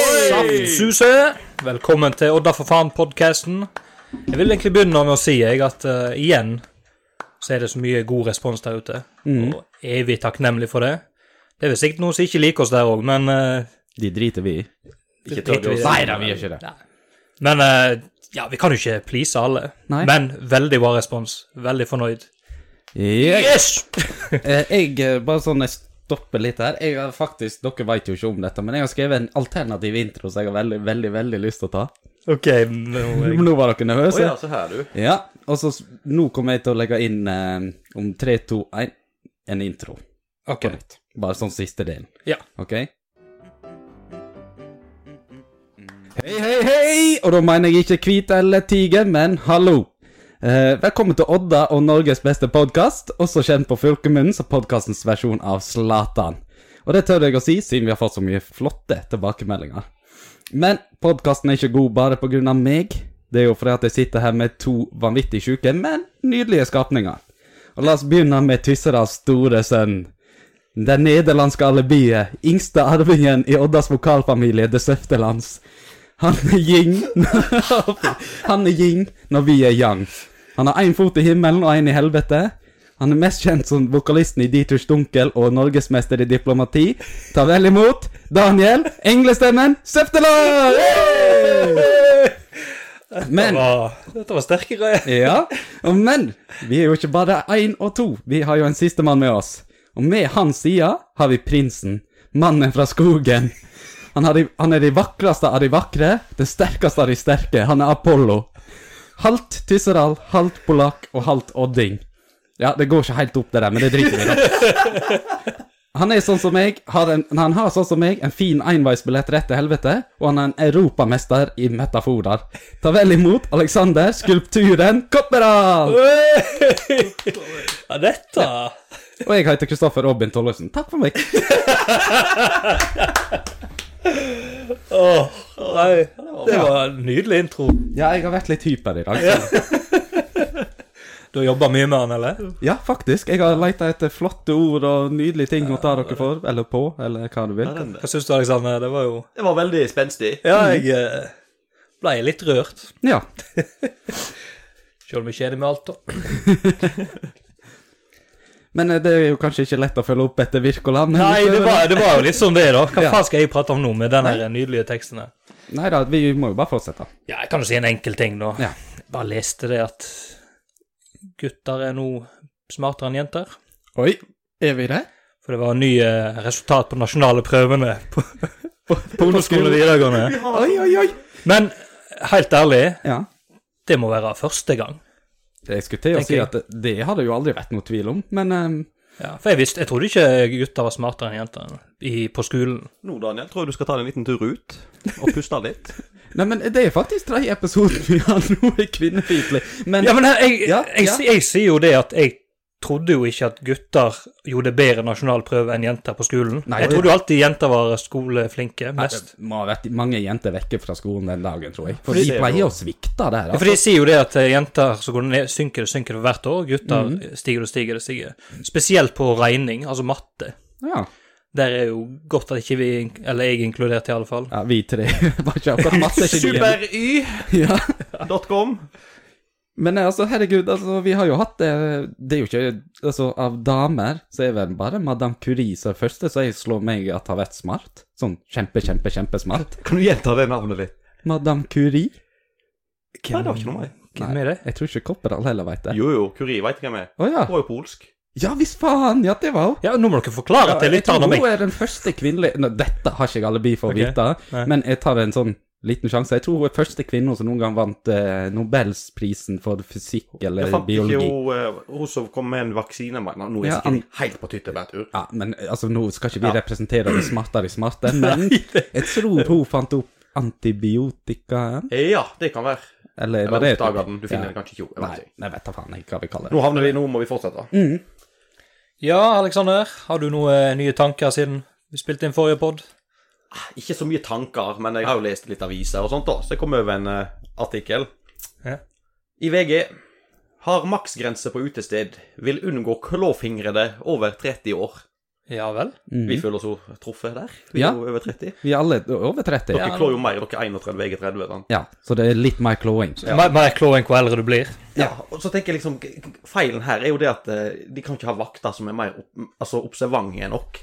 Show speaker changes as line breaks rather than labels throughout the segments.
Jon Suse, velkommen til Odda for faen-podkasten. Jeg vil egentlig begynne med å si jeg, at eh, igjen så er det så mye god respons der ute. Og evig takknemlig for det. Det er vel sikkert noen som ikke liker oss der òg, men eh,
De driter vi i.
Ikke
driter vi i
oss.
det.
da, vi gjør ikke det.
Men eh, ja, vi kan jo ikke please alle.
Nei.
Men veldig bra respons. Veldig fornøyd.
Jeg,
Yes!
eh, jeg eh, bare sånn jeg stopper litt her. Jeg har faktisk, Dere vet jo ikke om dette, men jeg har skrevet en alternativ intro som jeg har veldig, veldig veldig lyst til å ta.
OK, nå er jeg
Men nå var dere
Å
nervøse.
ja, se her, du.
Ja, og så s- nå kommer jeg til å legge inn eh, om tre, to, én en intro.
OK.
Bare sånn siste delen.
Ja.
Ok? Hei, hei, hei! Og da mener jeg ikke hvit eller tiger, men hallo. Eh, velkommen til Odda og Norges beste podkast, også kjent på fylkemunnen som podkastens versjon av Zlatan. Og det tør jeg å si, siden vi har fått så mye flotte tilbakemeldinger. Men podkasten er ikke god bare på grunn av meg. Det er jo fordi at jeg sitter her med to vanvittig syke, men nydelige skapninger. Og la oss begynne med Tysseras store sønn. Det nederlandske alibiet, yngste arvingen i Oddas vokalfamilie, det Søftelands. Han er yin Han er yin når vi er yang. Han har én fot i himmelen og én i helvete. Han er mest kjent som vokalisten i Dieters Dunkel og norgesmester i diplomati. Ta vel imot Daniel, englestemmen Søfteland! Men
Wow, Dette var sterke greier.
ja, og men vi er jo ikke bare én og to, vi har jo en sistemann med oss. Og med hans side har vi prinsen, mannen fra skogen. Han, har de, han er de vakreste av de vakre, den sterkeste av de sterke. Han er Apollo. Halvt tysseral, halvt polakk og halvt odding. Ja, det går ikke helt opp det der, men det driter vi i. da. Han er sånn som meg, har en, han har sånn som meg en fin enveisbillett rett til helvete, og han er en europamester i metaforer. Ta vel imot Alexander, skulpturen Kopperal!
Ja, dette
Og jeg heter Kristoffer Robin Tollefsen. Takk for meg.
Åh, nei, Det var en nydelig intro.
Ja, jeg har vært litt hyper i dag. så-
Du har jobba mye med den, eller?
Ja, faktisk. Jeg har leita etter flotte ord og nydelige ting å ta dere for, eller på, eller hva du vil.
Den,
Hva syns du, Alexander? Det var jo
det var veldig spenstig.
Ja, jeg eh, ble litt rørt.
Ja.
Selv om jeg ikke er det med alt, da.
Men eh, det er jo kanskje ikke lett å følge opp etter Wirkola. men-
Nei, det var, det var jo litt sånn det, da. Hva
Ja.
faen skal jeg prate om nå med den her nydelige teksten her?
Nei da, vi må jo bare fortsette.
Ja, jeg kan jo si en enkel ting, da.
Ja.
Jeg bare leste det at gutter er nå smartere enn jenter.
Oi. Er vi det?
For det var nye resultat på nasjonale prøvene på, på, på
ungdomsskolen.
ungdomsskolen og videregående.
Oi, oi, oi.
Men helt ærlig,
Ja.
det må være første gang.
Jeg skulle til å
Tenker
si
jeg.
at det, det har det jo aldri vært noe tvil om, men ehm,
Ja, for jeg visste, jeg trodde ikke gutter var smartere enn jenter i, på skolen.
Nå, Daniel, tror jeg du skal ta deg en liten tur ut og puste litt.
Nei, men det er faktisk tredje episoden vi har nå er kvinnefiendtlig. Men
Ja, men jeg, jeg,
Ja,
jeg,
ja.
si- jeg sier jo det at jeg trodde jo ikke at gutter gjorde bedre nasjonalprøve enn jenter på skolen.
Nei,
jeg
det-
trodde jo alltid jenter var skoleflinke mest.
Det må ha vært mange jenter vekke fra skolen den dagen, tror jeg. For
Fordi-
de pleier å svikte der.
Ja, for de sier jo det at eh, jenter så går det ned, synker det synker det for hvert år, gutter
Mhm.
stiger det stiger det stiger. Spesielt på regning, altså matte.
Ja.
Der er jo godt at ikke vi, eller jeg er inkludert i alle fall.
ja, vi tre var ikke akkurat masse ikke de-
Supery.com.
Ja. Men eh, altså, herregud, altså, vi har jo hatt eh, Det er jo ikke Altså, av damer så er vel bare Madame Curie som er første, så jeg slår meg at har vært smart. Sånn kjempe, kjempe, kjempesmart.
Kan du gjenta det navnet litt?
Madame Curie?
Nei, det var ikke noe mer.
Hvem er det?
Jeg tror ikke Kopperall heller veit det.
Jo, jo, Curie veit hvem jeg er.
Å ja.
Hun er jo polsk.
Ja visst faen! Ja, det var hun.
Ja, nå må dere forklare
Ja,
til
jeg tror
lytterne meg.
Hun er den første kvinnelige Nå, Dette har ikke jeg alibi for
Ok.
å vite,
Nei.
men jeg tar en sånn liten sjanse. Jeg tror hun er første kvinne som noen gang vant eh, Nobelsprisen for fysikk
Jeg
eller
fant
biologi.
ikke hun, eh, hun som kom med en vaksine, mener Nå er
Ja,
jeg sikkert helt på tyttebærtur.
Ja, men eh, altså, nå skal ikke vi
Ja.
representere de smarte av de smarte, men jeg tror hun fant opp antibiotika
Eh, Ja, det kan være.
Eller var
Eller
det
oppdaga den. Du finner
Ja.
den kanskje ikke. jo, jeg
Nei,
vet ikke.
jeg vet da faen ikke hva vi kaller det. Mm,
Nå havner vi, nå må vi fortsette.
Ja, Alexander, har du noen nye tanker siden vi spilte inn forrige podd?
Ikke så mye tanker, men jeg har jo lest litt aviser og sånt, da. Så jeg kom over en eh, artikkel.
Ja.
I VG har maksgrense på utested. Vil unngå klåfingrede over 30 år.
Ja vel?
Vi føler oss jo truffet der. Vi
Ja.
er jo over 30.
Vi er alle over 30.
Dere klår jo mer, dere er 31, jeg er 30. Sant?
Ja, så det er litt mer klåing.
Mer, mer klå enn hvor eldre du blir.
Ja, og så tenker jeg liksom g- g- Feilen her er jo det at eh, de kan ikke ha vakter som er mer opp, altså observante nok.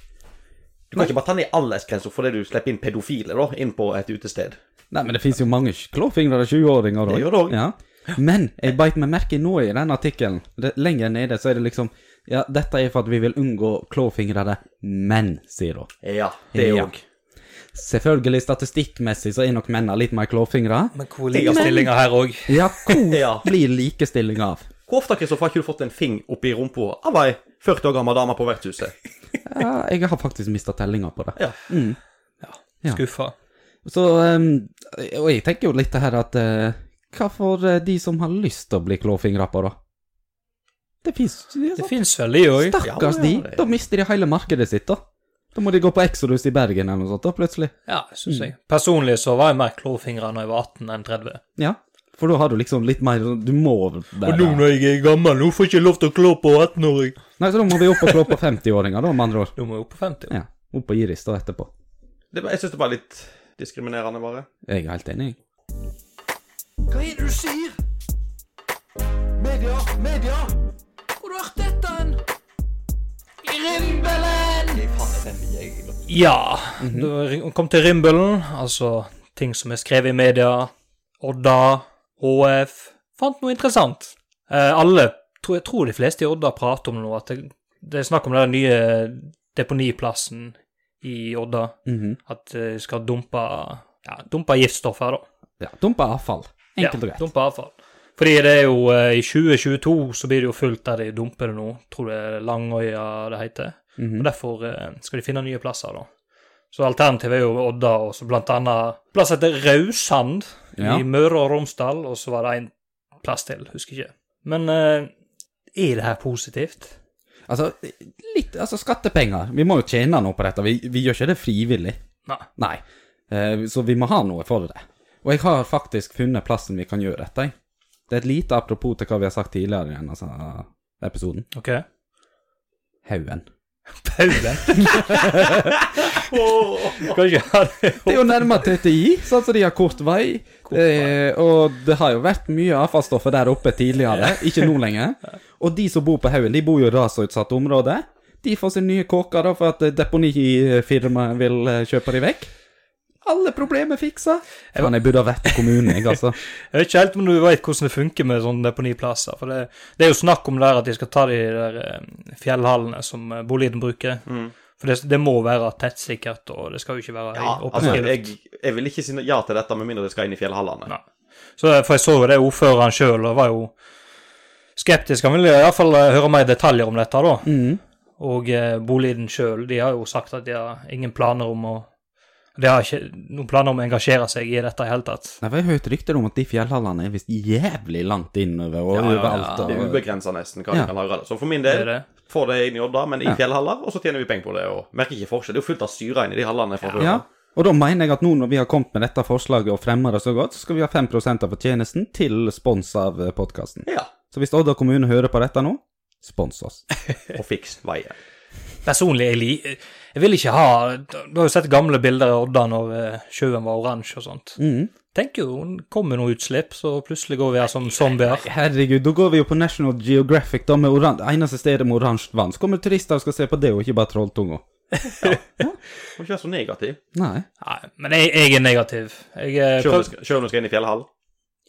Du kan ikke bare ta ned aldersgrensa fordi du slipper inn pedofile da, inn på et utested.
Nei, men det fins jo mange klåfingrede 20-åringer òg.
Det gjør det også.
Ja. Men jeg beit meg merke i nå i den artikkelen, det- lenger nede, så er det liksom Ja, dette er for at vi vil unngå klåfingrede menn, sier hun.
Ja, det
Ja.
òg.
Selvfølgelig, statistikkmessig så er nok mennene litt mer klåfingre.
Men hvor ligger stillinga her òg?
Ja, hvor
Ja.
blir likestilling av?
Hvor ofte Kristoffer, har ikke du fått en fing oppi rumpa av ei 40 år gammel dame på vertshuset?
Ja, jeg har faktisk mista tellinga på det.
Ja.
Ja.
Skuffa.
Så ehm, Og jeg tenker jo litt det her at eh, Hva for eh, de som har lyst til å bli klåfingra på, da? Det fins
Det fins vel, de òg.
Stakkars
Ja,
de.
ja, det-
Da mister de hele markedet sitt, da. Da må de gå på Exodus i Bergen eller noe sånt, da, plutselig.
Ja, syns jeg. Personlig så var jeg mer klåfingra da jeg var 18 enn 30.
Mm. Ja. For da har du liksom litt mer Du må der. da.
når jeg er gammel, nå får jeg ikke lov til å klå på 18-åring.
Nei, så da må vi opp og klå på 50-åringer, da, med andre ord.
Du må jo opp på 50.
Ja. Opp på Iris da etterpå.
Det, jeg syns det var litt diskriminerende, bare.
Jeg er helt enig, jeg.
Hva er det du sier? Media, media! Hvor har du hørt dette hen? I rimbelen!
Ja. Du kom til Rimbelen, altså ting som er skrevet i media, Odda, HF Fant noe interessant. Eh, alle, tror, jeg tror de fleste i Odda prater om det nå, at det, det er snakk om den nye deponiplassen i Odda.
Mhm.
At de skal dumpe, ja, dumpe giftstoffer, da.
Ja. Dumpa avfall. Enkelt og greit.
Dumpe avfall. Fordi det er jo eh, I 2022 så blir det jo fullt der de dumper det nå. Tror det er Langøya det heter.
Mm. Mhm.
Og Derfor eh, skal de finne nye plasser, da. Så alternativet er jo Odda og så blant annet plass heter Rausand
Ja.
i Møre og Romsdal, og så var det en plass til, husker ikke. Men eh, er det her positivt?
Altså, litt Altså, skattepenger. Vi må jo tjene noe på dette. Vi, vi gjør ikke det frivillig.
Nei.
Nei. Eh, så vi må ha noe for det. Og jeg har faktisk funnet plassen vi kan gjøre dette. jeg. Det er et lite apropos til hva vi har sagt tidligere i denne altså, episoden.
OK.
Haugen.
Paulen. Kan ikke ha det
Det er jo nærmere TTI, sånn som de har kort vei. Eh, og det har jo vært mye avfallsstoffer der oppe tidligere, ikke nå lenger. Og de som bor på Haugen, de bor jo i rasutsatte områder. De får seg nye kåker da, for at eh, deponifirmaet vil eh, kjøpe de vekk. Alle problemer fiksa. Faen, jeg burde ha vært i kommunen, jeg, altså.
Jeg vet ikke helt om du vet hvordan det funker med sånne deponiplasser. For det, det er jo snakk om det der at de skal ta de der eh, fjellhallene som eh, Boliden bruker. For det, det må være tettsikkert, og det skal jo ikke være
Mm. Ja,
høy- åpen
altså,
friluft.
jeg, jeg vil ikke si ja til dette med mindre det skal inn i fjellhallene.
Nei. Så, eh, for jeg så jo det ordføreren sjøl, og var jo skeptisk. Han ville iallfall eh, høre mer detaljer om dette, da. Og eh, Boliden sjøl, de har jo sagt at de har ingen planer om å De har ikke noen planer om å engasjere seg i dette i det hele tatt.
Nei, for Jeg har hørt rykter om at de fjellhallene er visst jævlig langt innover og
Ja, ja,
overalt.
ja. Det er
Og...
ubegrensa nesten hva
Ja.
du kan lagre. Så for min
Det er
del
det.
får det inn i Odda, men i
Ja.
fjellhaller, og så tjener vi penger på det. og Merker ikke forskjell. Det er jo fullt av syre inni de hallene fra før.
Ja, og da mener jeg at nå når vi har kommet med dette forslaget og fremmer det så godt, så skal vi ha 5 av fortjenesten til spons av podkasten.
Ja.
Så hvis Odda kommune hører på dette nå, spons oss.
Og fiks veien.
Personlig, jeg, li- jeg vil ikke ha Du har jo sett gamle bilder av Odda når eh, sjøen var oransje og sånt.
Mhm.
Tenk jo, det kommer noe utslipp, så plutselig går vi her som zombier.
Herregud, da går vi jo på National Geographic, da, med oran... det eneste stedet med oransje vann. Så kommer turister og skal se på det, og ikke bare trolltunga.
Må ikke være så negativ.
Nei.
Nei, men jeg, jeg er negativ. Jeg eh,
Sjøl om
prøv,
du skal- sjøl om du skal inn i fjellhall.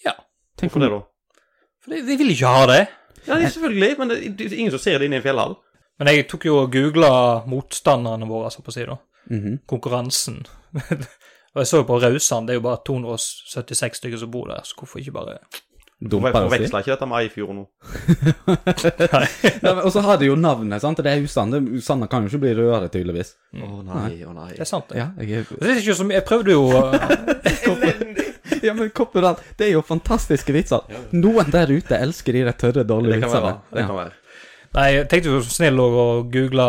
Ja,
Tenk
Hvorfor det, da?
for de, de vil ikke ha det.
Ja, det er selvfølgelig, men det det er ingen som ser det inn i en fjellhall.
Men jeg tok jo og googla motstanderne våre, så på å si, da.
Mhm.
Konkurransen. og jeg så jo på Rausan, det er jo bare 276 stykker som bor der, så hvorfor ikke bare
Hvorfor
Dumper oss i.
forveksler ikke dette med Eifjord nå?
Nei, men- Og så har det jo navnet, sant. Det er Usanne. Usanne kan jo ikke bli rødere, tydeligvis.
Å nei, å nei.
Det er sant, det.
Ja, jeg er
Det er ikke så mye Jeg prøvde jo eh,
Ja, men copyright, det er jo fantastiske vitser. Noen der ute elsker de der tørre, dårlige
Det kan
vitsene.
være. Det kan være.
Nei, jeg tenkte jo så snill også å google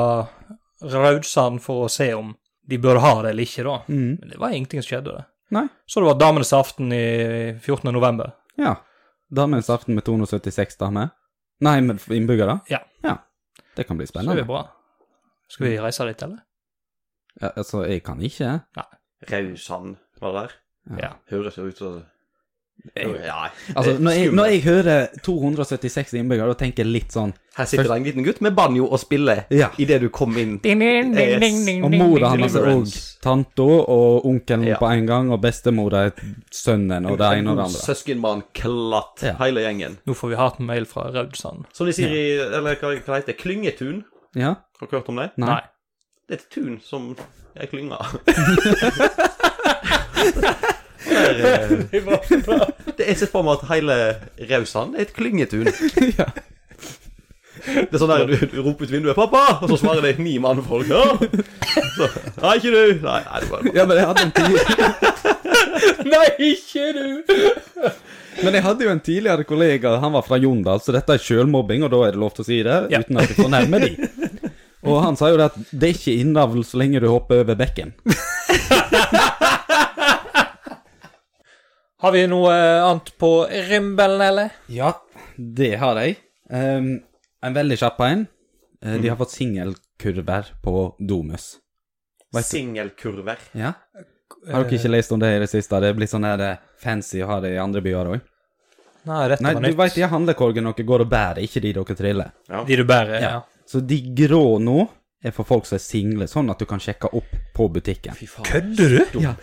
Raudsand for å se om de burde ha det eller ikke, da.
Mm.
Men det var ingenting som skjedde. det.
Ja. Nei?
Så det var Damenes aften i 14. november.
Ja. Damens aften med 276 damer. Nei, med innbyggere?
Ja.
ja. Det kan bli
Så er
spennende.
det bra. Skal vi reise dit, eller?
Ja, altså, jeg kan ikke.
Raudsand var det der.
Ja.
Høres jo ut som Nei.
Altså, når jeg, når jeg hører 276 innbyggere, da tenker jeg litt sånn
Her sitter det en liten gutt med banjo og spiller
Ja.
idet du kom inn.
ding, ding, ding,
Og mora
ding,
hans er òg
deliverance.
tanta og onkelen
Ja.
på en gang, og bestemora er sønnen og det ene og det andre.
Søskenbarn, klatt,
Ja.
hele gjengen.
Nå får vi hatt en mail fra Raudsand.
Som de sier i Eller hva, hva heter det? Klyngetun?
Ja?
Har du hørt om det?
Nei.
Nei.
Det er et tun som er klynga. Der, eh, det jeg ser for meg at hele Raudsand er et klyngetun.
Ja.
Det er sånn der du, du roper ut vinduet 'Pappa!', og så svarer det ni mannfolk. Ja. Så, 'Nei, ikke du.' Nei, nei det var bare
ja, men jeg hadde en tidligere
Nei, ikke du!
Men jeg hadde jo en tidligere kollega, han var fra Jondal, så dette er sjølmobbing, og da er det lov til å si det
Ja.
uten at du fornærmer de. Og han sa jo det at det er ikke innavl så lenge du hopper over bekken.
Har vi noe eh, annet på rimbelen, eller?
Ja, det har jeg. Ehm, en veldig kjapp en. Eh, De har fått singelkurver på Domus. Vet du-
Singelkurver.
Ja. Har dere ikke lest om det i det siste? Det er blitt sånn her eh, fancy å ha det i andre byer òg.
Nei, dette
Nei,
var
du
nytt.
veit de handlekorgene dere går og bærer, ikke de dere triller.
De du bærer, ja.
Så de grå nå er for folk som er single, sånn at du kan sjekke opp på butikken.
Fy faen.
Kødder du?
Ja.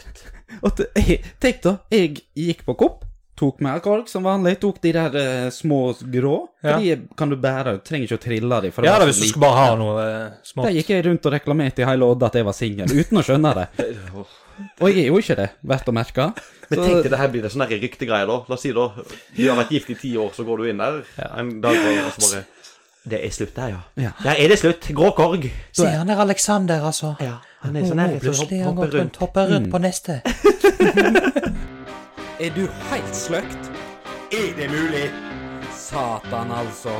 Og det- jeg- Tenk da, jeg gikk på Kopp, tok med korg som vanlig, tok de der eh, små grå.
Ja.
De kan du bære, du trenger ikke å trille de. for det
Ja
var
da,
så
hvis du
lite.
skal bare ha noe eh, smått.
Der gikk jeg rundt og reklamerte i hele Odda at jeg var singel, uten å skjønne det. Og jeg er jo ikke det, verdt å merke.
Men
Så-
tenk deg, det her blir det sånne her ryktegreier, da. La oss si, da. Du har vært gift i ti år, så går du inn der en dag og og så bare Det er slutt der, ja.
Ja.
Der er det slutt. Grå korg.
Se, han der Alexander, altså.
Ja. Han er sånn her, så hopp- hopper rundt.
hopper rundt
Mm.
på neste.
Er du helt sløkt?
Er det mulig?
Satan, altså.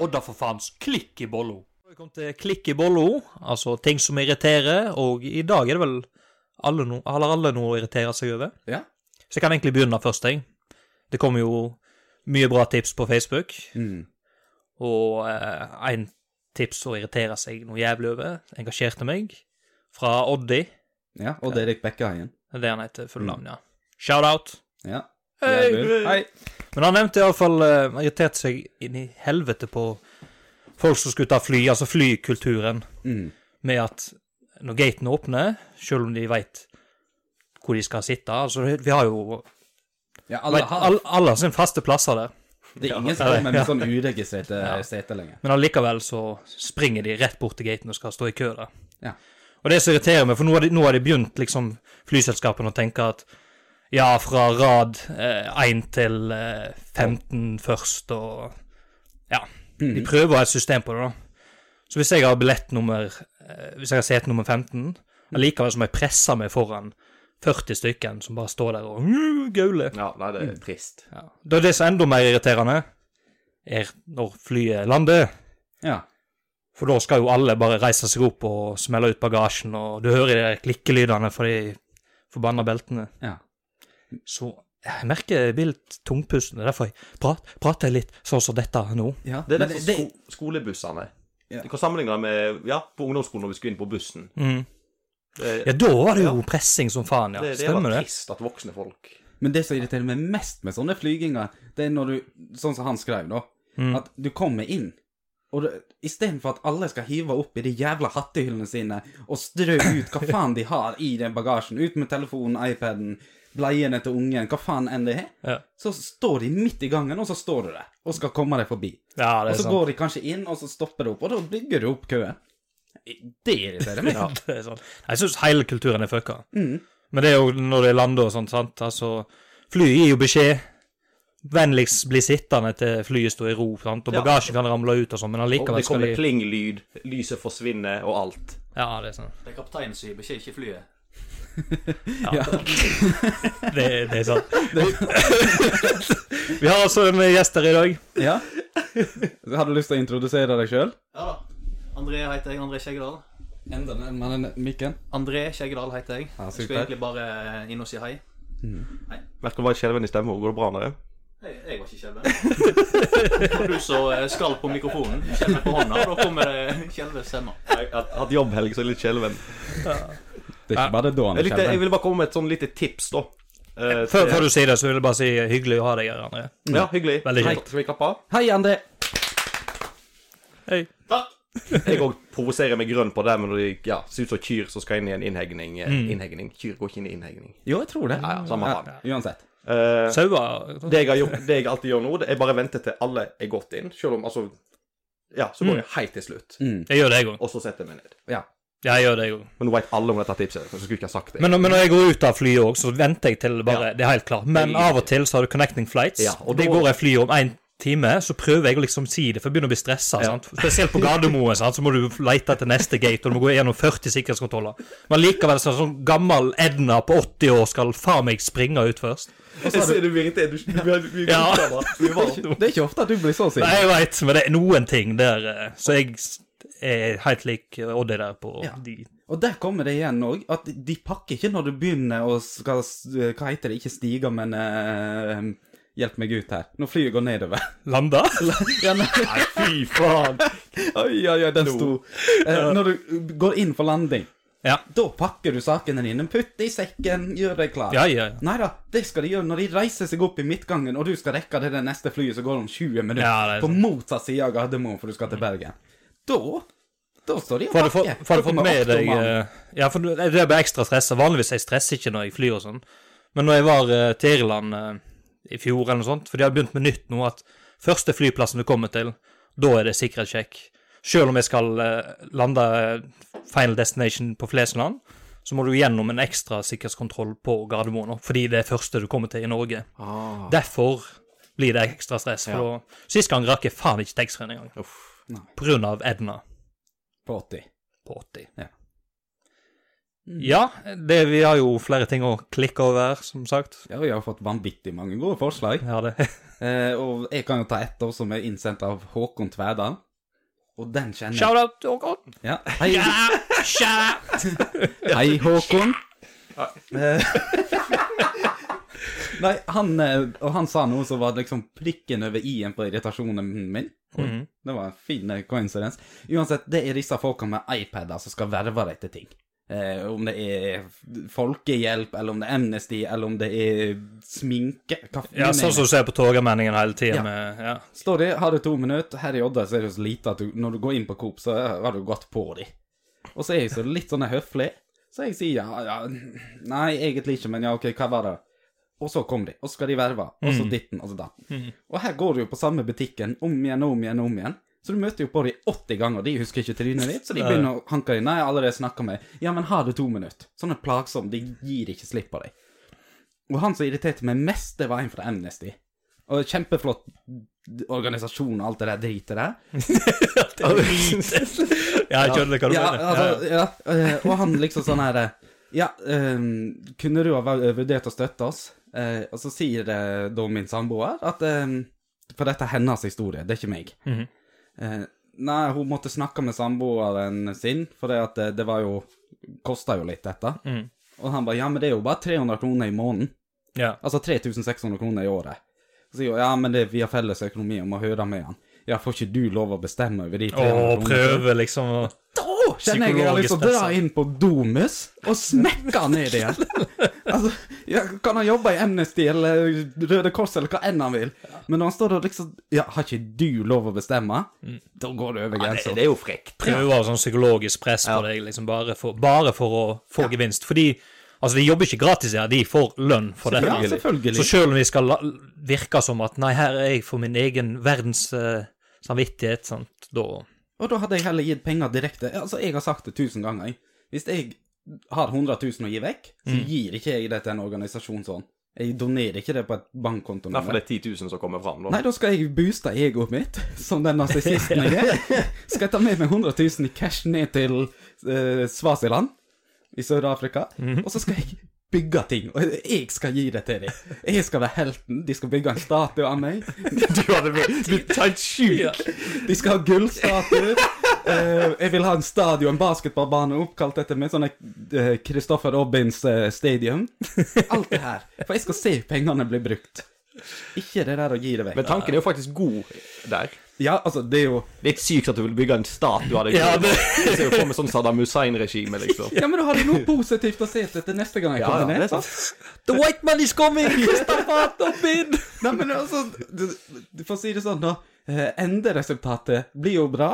Og da for faens klikk i bollo. Vi kom til klikk i bollo, altså ting som irriterer, og i dag er det vel alle no, har alle noe å irritere seg over.
Ja.
Så jeg kan egentlig begynne først, jeg. Det kommer jo mye bra tips på Facebook,
Mm.
og eh, en tips å irritere seg noe jævlig over, engasjerte meg, fra Oddi,
Ja, og Erik Bekkeheien.
det er det han heter full
Mm.
navn, ja. Shout-out.
Ja.
Hei,
Jævlig. Hei.
Men han nevnte iallfall uh, irriterte seg inn i helvete på folk som skulle ta fly, altså flykulturen,
Mm.
med at når gatene åpner, selv om de veit hvor de skal sitte Altså, vi har jo
Ja,
alle,
alle har
alle, alle har sine faste plasser der,
Det er ingen som kommer med sånn uregistrerte seter lenger.
men allikevel så springer de rett bort til gaten og skal stå i kø der.
Ja.
Og det som irriterer meg, for nå har de, nå har de begynt, liksom, flyselskapene å tenke at ja, fra rad eh, 1 til eh, 15 først, og ja. De prøver å ha et system på det, da. Så hvis jeg har billett nummer eh, Hvis jeg har sete nummer 15, allikevel så må jeg presse meg foran 40 stykken som bare står der og uh, gauler.
Ja, nei, det er trist.
Ja. Da er det som er enda mer irriterende, er når flyet lander.
Ja.
For da skal jo alle bare reise seg opp og smelle ut bagasjen, og du hører de klikkelydene fra de forbanna beltene.
Ja.
Så jeg merker jeg blir litt tungpusten. Det er derfor jeg prat, prater litt sånn som dette nå.
ja.
Det er
Men
derfor
det-
sko skolebussene
Ja.
Du kan sammenligne det med ja, på ungdomsskolen når vi skulle inn på bussen. Det,
Ja, da var det jo pressing som faen, ja.
Mm. det, det var
Stemmer det?
trist at voksne folk
Men det som irriterer meg mest med sånne flyginger, det er når du, sånn som han skrev da, at du kommer inn, og du- i stedet for at alle skal hive opp i de jævla hattehyllene sine, og strø ut hva faen de har i den bagasjen, ut med telefonen, iPaden, bleiene til ungen, hva faen enn det er,
Ja.
så står de midt i gangen, og så står du der, og skal komme deg forbi.
Ja, det
Og
er
så
sant.
går de kanskje inn, og så stopper det opp, og da bygger du opp køen. Det irriterer meg.
Ja, det er sant. Jeg syns hele kulturen er fucka. Men det er jo når det lander og sånt, sant. Altså, flyet gir jo beskjed. Vennligst bli sittende til flyet står i ro, sant? og
Ja.
bagasjen kan ramle ut og sånn, men
Og det
allikevel skal
kommer
de
plinglyd, lyset forsvinner og alt.
Ja, det er sant.
Det er kapteinen som gir beskjed, ikke flyet.
Det, det er sant. Vi har altså en gjest her i dag.
Ja. Har du lyst til å introdusere deg sjøl?
Ja da. André heter jeg. André Skjeggedal.
Enda nærmere enn mikken.
André Skjeggedal heter jeg.
Ja,
Jeg
supert.
skulle egentlig bare inn og si hei.
Merker du hva skjelven i stemmen? Går det bra med det?
Jeg, jeg var ikke skjelve. Og du som eh, skal på mikrofonen, skjelver på hånda, og da kommer det skjelvestemmer.
Jeg har hatt jobbhelg, så jeg er litt skjelven.
Det er ikke bare det da han
Jeg, likte, jeg
skjelver.
ville bare komme med et sånn lite tips, da. Eh,
Før,
til-
før du sier det, så vil jeg bare si hyggelig å ha deg her, André.
Ja, hyggelig.
Veldig
Hei,
kjekt.
Skal vi klappe av?
Hei, André.
Hei.
Takk!
Jeg òg provoserer med grønn på det, men når de ja, ser ut som kyr som skal inn i en innhegning. eh,
Mm.
innhegning. Kyr går ikke inn i innhegning.
Jo, jeg tror det.
Ja, ja, samme faen.
Ja, uansett.
Eh,
Sauer
det, jeg har gjort, det jeg alltid gjør nå, det er bare å vente til alle er gått inn. Selv om altså Ja,
Mm.
så går jeg helt til slutt.
Jeg gjør det, jeg òg.
Og så setter jeg meg ned.
Ja.
Ja, jeg gjør det, jeg òg.
Men nå veit alle om dette tipset, så jeg skulle ikke ha sagt det.
Men, men når jeg går ut av flyet òg, så venter jeg til bare Det er helt klart. Men
Det er-
av og til så har du connecting flights.
Ja, og
og det
da-
går jeg flyet om én time, så prøver jeg å liksom si det, for jeg begynner å bli stressa. sant? Spesielt på Gardermoen, sant? så må du lete etter neste gate, og du må gå gjennom 40 sikkerhetskontroller. Men likevel så er det sånn gammel Edna på 80 år skal faen meg springe ut først.
jeg ser du irritert. Du, du, du, du,
Ja.
du, var-
Det er ikke ofte at du blir så
Nei,
sint.
jeg veit, men det er noen ting der eh, Så jeg s- er helt lik eh, Oddi der på
Ja.
de
Og der kommer det igjen òg, at de pakker ikke når du begynner å skal s- Hva heter det? Ikke stiger, men eh, Hjelp meg ut her. Når flyet går nedover.
landa.
Ja, nei, fy faen. Oi, oi, oi, den sto. Eh, når du går inn for landing,
Ja.
da pakker du sakene dine. Putt det i sekken, gjør deg klar.
Ja, ja, ja.
Nei da, det skal de gjøre når de reiser seg opp i midtgangen, og du skal rekke det der neste flyet som går om 20 minutter.
Ja, det er
på
sant.
motsatt side av Gardermoen, for du skal til Bergen. Da da står de og
For du
pakker.
fått, for du fått
Kommer
med
åtte om
deg
mannen.
eh, Ja, for du- det er bare ekstra stressa. Vanligvis jeg stresser ikke når jeg flyr og sånn. Men når jeg var eh, til Irland eh, i fjor eller noe sånt, for de har begynt med nytt nå, at første flyplassen du kommer til, da er det sikkerhetssjekk. Selv om jeg skal eh, lande eh, final destination på Flesland, så må du gjennom en ekstra sikkerhetskontroll på Gardermoen, nå, fordi det er første du kommer til i Norge. Derfor blir det ekstra stress. For da, sist gang rakk jeg faen ikke taxfree-en engang. På grunn av Edna
På 80.
på 80.
Ja.
Ja, det, vi har jo flere ting å klikke over, som sagt.
Ja, vi har fått vanvittig mange gode forslag.
Ja, det.
Eh, og jeg kan jo ta ett også, som er innsendt av Håkon Tverdal. Og den kjenner jeg.
Shout out til Håkon!
Ja. Hei,
Ja, shout out!
hei, Håkon. Eh, Nei, han, eh, og han sa noe som var liksom prikken over i-en på irritasjonen min. Og Det var en fin eh, coincidence. Uansett, det er disse folka med iPader som skal verve deg til ting. Eh, om det er folkehjelp, eller om det er Amnesty, eller om det er sminke hva faen
Ja,
er
sånn
det?
som du ser på Torgallmenningen hele
Ja.
tida med ja.
Står det, har du to minutter, her i Odda så er det så lite at du, når du går inn på Coop, så har du gått på de. Og så er jeg så litt sånn høflig, så jeg sier ja, ja, nei, egentlig ikke, men ja, ok, hva var det? Og så kom de, og så skal de verve, og så ditten, og så datten. Og her går du jo på samme butikken, om igjen, om igjen, om igjen. Så du møter jo på de 80 ganger, de husker ikke trynet ditt, så de begynner å hanke deg, nei, jeg har allerede snakket med, deg. ja, men har du to minutter? Sånn er plagsom, de gir ikke slipp på deg. Og han som irriterte meg mest, det var en fra Amnesty. Og kjempeflott organisasjon og alt det der dritet der.
Ja, jeg skjønner hva du
Ja,
mener.
altså, ja, eh, og han liksom sånn her eh, Ja, eh, kunne du ha vel- vurdert å støtte oss? Eh, og så sier det da min samboer at eh, For dette er hennes historie, det er ikke meg. Eh, nei, hun måtte snakke med samboeren sin, for det, at eh, det, det var jo Kosta jo litt, dette. Og han ba ja, men det er jo bare 300 kroner i måneden.
ja.
Altså 3600 kroner i året. Så sier hun ja, men det, vi har felles økonomi og må høre med han. Ja, får ikke du lov å bestemme over de
Og
300 kronene?
prøve, liksom. å-
Da kjenner jeg jeg har lyst til å dra
Psykologisk
inn på Domus og smekke han ned igjen. Altså, ja, kan han jobbe i Amnesty eller Røde Kors eller hva enn han vil, men når han står der og liksom Ja, har ikke du lov å bestemme? Da går det over
det,
grensa.
det er jo frekt.
Prøve sånn psykologisk press på deg, liksom, bare for, bare for å få gevinst. Fordi altså, de jobber ikke gratis her, de får lønn for det.
Ja, selvfølgelig.
Så selv om de skal la- virke som at nei, her er jeg for min egen verdens eh, samvittighet, sant, da
Og da hadde jeg heller gitt penger direkte. Altså, jeg har sagt det tusen ganger. jeg. Hvis jeg har 100 000 å gi vekk, så gir ikke jeg det til en organisasjon sånn. Jeg donerer ikke det på et bankkonto.
Derfor det er 10 000 som kommer fram. Da.
Nei, da skal jeg booste egoet mitt, som den narsissisten jeg er. Skal jeg ta med meg 100 000 i cash ned til eh, Svasiland i Sør-Afrika, og så skal jeg bygge ting, og jeg skal gi det til dem. Jeg skal være helten, de skal bygge en statue av meg,
Du hadde blitt helt sjuk.
Ja.
de skal ha gullstatue. Eh, jeg vil ha en stadion, en basketballbane oppkalt etter meg, sånn eh, Christopher Robins eh, stadium. Alt det her. For jeg skal se pengene bli brukt.
Ikke det der å gi det vekk.
Men tanken er jo faktisk god der.
Ja, altså, det er jo
Litt sykt at du vil bygge en statue av deg.
Ja, det-
Jeg ser jo for meg sånn Saddam Hussein-regime, liksom.
Ja, men da har du noe positivt å se til til neste gang jeg
Ja,
kommer
ja, det
ned.
er sant.
The white man is coming! Nei, men altså, du, du får si det sånn, da. eh, Enderesultatet blir jo bra.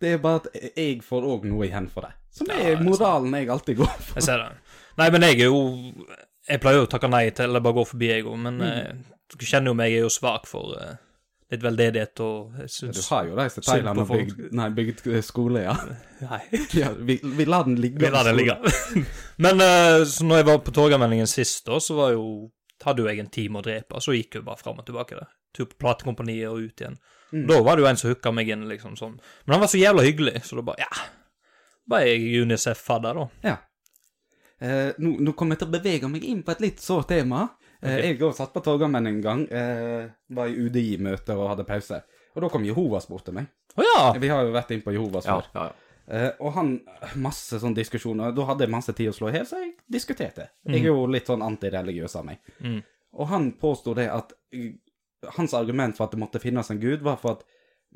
Det er bare at jeg får òg noe igjen for det. Som er moralen jeg alltid går for.
Jeg ser det. Nei, men jeg er jo Jeg pleier jo å takke nei til eller bare gå forbi, jeg òg,
Mm.
men eh, du kjenner jo meg, jeg er jo svak for eh, litt veldedighet og jeg
Du
syns
har jo reist til
Synd på
Thailand og
folk.
bygd, nei, bygd eh, skole, ja.
Nei.
ja vi, vi lar den ligge.
Vi lar den ligge. men eh, så når jeg var på Torgallmeldingen sist, da, så var jo hadde jo jeg en time å drepe, så gikk jo bare fram og tilbake der. Tur på platekompaniet og ut igjen. Da var det jo en som hooka meg inn, liksom sånn. Men han var så jævla hyggelig, så da bare Ja. Bare jeg UNICEF-fadder, da.
Ja. Eh, nå, nå kommer jeg til å bevege meg inn på et litt sårt tema. Eh, Jeg òg satt på Torgallmenn en gang. Eh, var i UDI-møte og hadde pause. Og da kom Jehovas bort til meg.
Å ja!
Vi har jo vært inn på Jehovas
Ja,
før.
ja,
Eh, og han Masse sånne diskusjoner. Da hadde jeg masse tid å slå i hjel, så jeg diskuterte. Jeg er jo litt sånn antireligiøs av meg. Og han påsto det at eh, Hans argument for at det måtte finnes en gud, var for at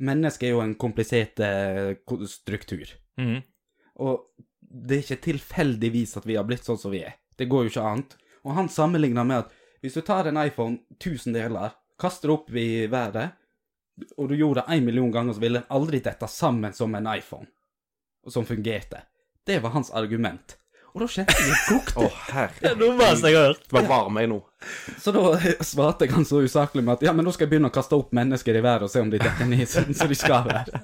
mennesket er jo en komplisert eh, ko- struktur.
Mhm.
Og det er ikke tilfeldigvis at vi har blitt sånn som vi er. Det går jo ikke annet. Og han sammenligner med at hvis du tar en iPhone, 1000 deler, kaster opp i været, og du gjorde det en million ganger, så ville den aldri dette sammen som en iPhone, og som fungerte. Det var hans argument. Og da kjente jeg kokte.
Det er det dummeste jeg har hørt.
Du var varm jeg nå.
Så da svarte jeg han så usaklig med at ja, men da skal jeg begynne å kaste opp mennesker i været og se om de detter ned sånn som de skal være.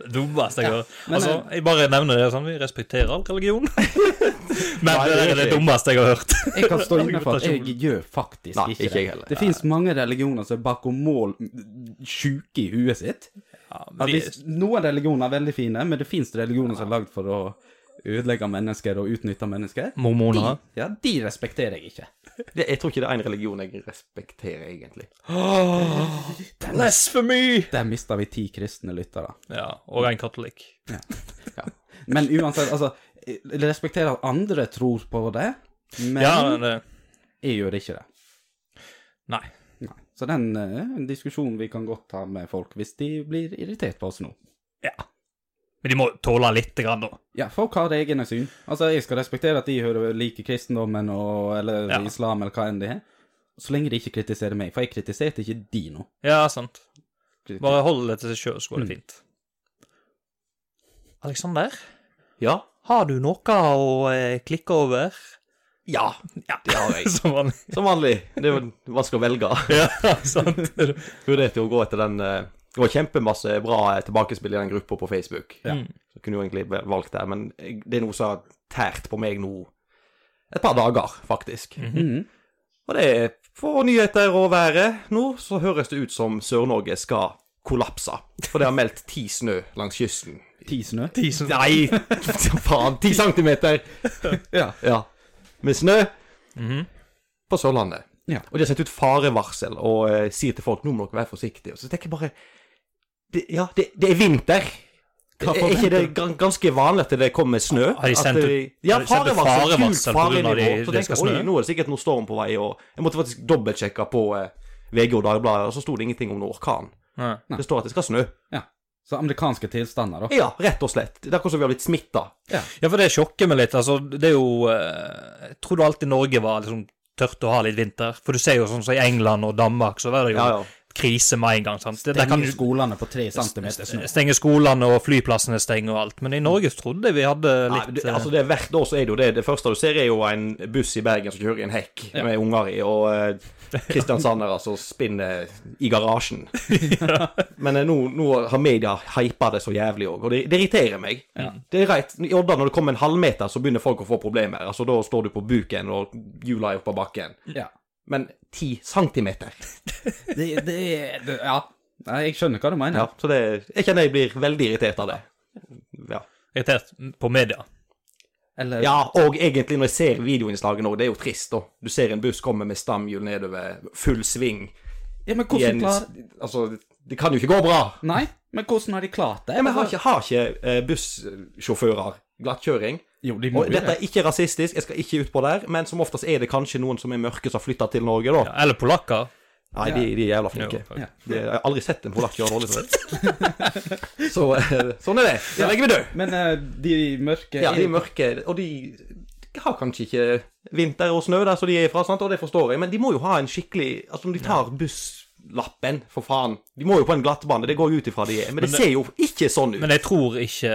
Det dummeste jeg har hørt.
men,
Altså, jeg bare nevner det sånn, vi respekterer all religion. Men det er det dummeste jeg har hørt.
Jeg kan stå inne for at jeg gjør faktisk
Nei,
ikke,
ikke jeg heller.
det. Det fins mange religioner som er bakom mål sjuke i huet sitt. At hvis, noen religioner er veldig fine, men det fins religioner som er lagd for å ødelegge mennesker og utnytte mennesker.
Mormoner.
Ja, de respekterer jeg ikke.
Det, jeg tror ikke det er en religion jeg respekterer, egentlig.
Blasfemy!
Der mista vi ti kristne lyttere.
Ja, og en katolikk.
Men uansett, altså Jeg respekterer at andre tror på det, men
Ja, det,
jeg gjør ikke det.
nei.
Nei. Så den eh, en diskusjon vi kan godt ta med folk hvis de blir irritert på oss nå.
Ja. Men de må tåle litt, grann, da.
Ja, folk har egne syn. Altså, jeg skal respektere at de hører like kristendommen og, eller
Ja.
islam eller hva enn det er. Så lenge de ikke kritiserer meg, for jeg kritiserte ikke de nå.
Ja, sant. Bare hold det til seg sjøl, så går det fint. Aleksander,
Ja.
har du noe å eh, klikke over?
Ja, det har jeg.
Som vanlig.
Som vanlig. Det er jo vanskelig å velge.
Ja, sant.
Vurderte jo å gå etter den eh, Det var kjempemasse bra eh, tilbakespill i den gruppa på Facebook. Så kunne jo egentlig vel- valgt der, men jeg- det er noe som har tært på meg nå et par dager, faktisk. Og det er for nyheter og været nå, så høres det ut som Sør-Norge skal kollapse. For det har meldt ti snø langs kysten.
Ti snø.
Nei, faen. Ti centimeter.
Ja.
ja. Med snø
Mhm.
på Sørlandet.
Ja.
Og de har sendt ut farevarsel og eh, sier til folk nå må dere være forsiktige. Og så tenker jeg bare det, Ja, det, det er vinter.
Hva
er ikke det gan- ganske vanlig at det kommer snø?
Har de
At
sendt ut-
det- ja,
har de sendt ut
farevarsel. Gult
farevarsel på grunn av de-
farenivå. Så
det skal
tenker jeg oi,
snø?
nå er det sikkert noe storm på vei, og jeg måtte faktisk dobbeltsjekke på eh, VG og Dagbladet, og så sto det ingenting om noe orkan.
Nei.
Det står at det skal snø.
ja. Så amerikanske tilstander, da.
Ja, rett og slett. Det er akkurat som vi har blitt smitta.
Ja, for det sjokker meg litt. Altså, det er jo eh, Jeg trodde alltid Norge var liksom tørt å ha litt vinter. For du ser jo sånn som i England og Danmark, så er det jo
Ja, ja.
krise med en gang. sant? Det, der kan
Kan
du
skolene på tre centimeter snø?
stenge skolene, og flyplassene stenger og alt. Men i Norge så trodde jeg vi hadde
Nei,
litt eh,
det, altså det er Hvert år så er det jo det. Det første du ser, er jo en buss i Bergen som kjører i en hekk med unger i, og eh, kristiansandere som spinner i garasjen. Men eh, nå, nå har media hypa det så jævlig òg, og det, det irriterer meg. Det er rett. I Odda, når det kommer en halvmeter, så begynner folk å få problemer. Altså Da står du på buken, og hjula er oppå bakken.
Ja.
Men ti centimeter
Det, det, det Ja. Nei, jeg skjønner hva du mener.
Ja, så det Jeg kjenner jeg blir veldig irritert av det. Ja.
irritert eh, på media.
Eller
Ja, og egentlig når jeg ser videoinnslaget nå, det er jo trist, da. Du ser en buss komme med stamhjul nedover, full sving.
Ja, men
I en,
hvordan klar...
altså, det kan jo ikke gå bra.
Nei, men hvordan har de klart det? Altså,
Nei, men har ikke, har ikke eh, bussjåfører glattkjøring?
Jo, de må
Og
jo
dette
det.
er ikke rasistisk, jeg skal ikke ut på der, men som oftest er det kanskje noen som er mørke som har flytta til Norge, da.
Eller polakker.
Nei, de, de er jævla flinke.
Jo,
de, jeg har aldri sett en polakk gjøre dårlig for det. Så eh, sånn er det. Det legger vi død.
Men eh, de mørke
Ja, de er mørke, og de har kanskje ikke vinter og snø der som de er ifra, sant? og det forstår jeg, men de må jo ha en skikkelig Altså, om de tar busslappen, for faen De må jo på en glattbane, det går jo ut ifra de er. Men, det, ser jo ikke sånn ut.
Men jeg tror ikke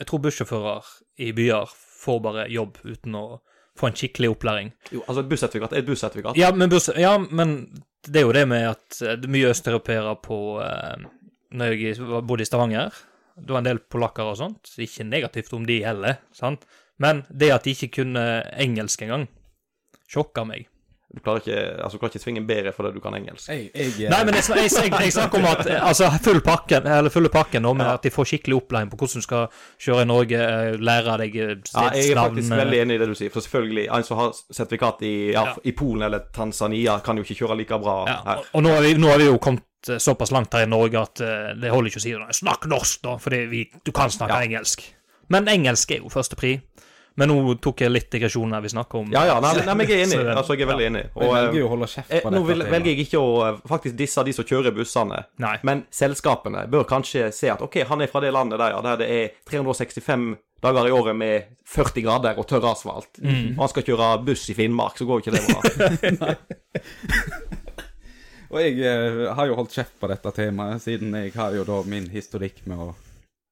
Jeg tror bussjåfører i byer får bare jobb uten å få en skikkelig opplæring.
Jo, altså, et bussertifikat er et bussertifikat.
Ja, men, buss, ja, men det er jo det med at eh, det er mye østeuropeere på eh, Når jeg i- bodde i Stavanger, det var en del polakker og sånt. Ikke negativt om de heller, sant? men det at de ikke kunne engelsk engang, sjokka meg.
Du klarer ikke, altså, du klarer ikke svinge bedre fordi du kan engelsk.
Jeg, jeg, eh,
Nei, men jeg, sn- jeg, jeg, jeg snakker om at eh, altså, full pakken, eller fulle pakken nå, med at de får skikkelig opplæring på hvordan du skal kjøre i Norge, eh, lære deg eh,
Ja, jeg er
stedsnavn,
faktisk
eh,
veldig enig i det du sier, for selvfølgelig, en som har sertifikat i, ja, i Polen eller Tanzania, kan jo ikke kjøre like bra
ja,
her.
og, og nå har vi, nå har vi jo kommet eh, såpass langt her i Norge at eh, det holder ikke å si det. Snakk norsk, da, for du kan snakke engelsk. Men engelsk er jo førstepri. Men nå tok jeg litt digresjon her vi snakker om.
Ja, ja, nei, nei, men jeg er enig.
Så det-
Altså, jeg er veldig enig.
jeg
Og, eh,
velger jo å holde kjeft
Eh,
på
nå
dette
vil,
temaet.
velger jeg ikke å eh, faktisk disse de som kjører bussene,
Nei.
men selskapene bør kanskje se at OK, han er fra det landet der, ja, der det er 365 dager i året med 40 grader og tørr asfalt,
Mm.
og han skal kjøre buss i Finnmark, så går jo ikke det bra.
Og jeg eh, har jo holdt kjeft på dette temaet, siden jeg har jo da min historikk med å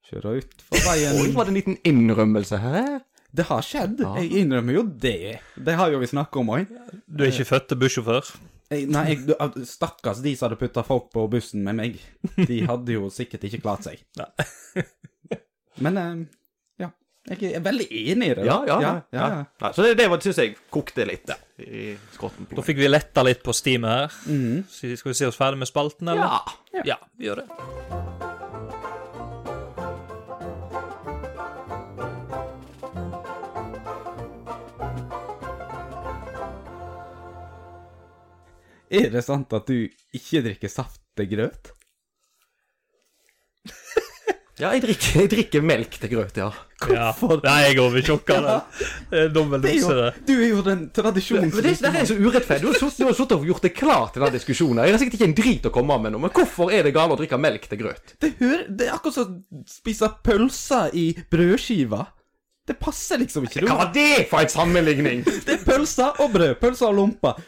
kjøre ut for veien.
Oi, var det en liten innrømmelse her?
Det har skjedd. Jeg innrømmer jo det. Det har jo vi snakka om òg.
Du er ikke født til bussjåfør?
Nei, jeg, du- ah, stakkars de som hadde putta folk på bussen med meg. De hadde jo sikkert ikke klart seg. Men eh, ja. Jeg er veldig enig i det. da.
Ja,
ja,
ja. nei,
ja,
nei.
ja.
Nei, så det, det var- syns jeg kokte litt i skrotten. på
Da
meg.
fikk vi letta litt på steamet her. Så Skal vi si oss ferdig med spalten, eller?
Mm. Ja.
Ja, vi gjør det.
Er det sant at du ikke drikker saft til grøt?
ja jeg, drikker, jeg drikker melk til grøt, ja.
Ja. Nei, jeg går over sjokka. da. Det er dobbel
Det er
dose,
jo,
det.
du er jo den tradisjonen
Men det, det her er så urettferdig. Du har suttet- du har sittet og gjort det klart til denne diskusjonen. Jeg har sikkert ikke en drit å komme med nå, men hvorfor er det galt å drikke melk til grøt?
Det, hører, det er akkurat som å spise pølser i brødskiva. Det passer liksom ikke.
Hva
Du.
var det for en sammenligning?
Det er pølser og brød. Pølser og lomper.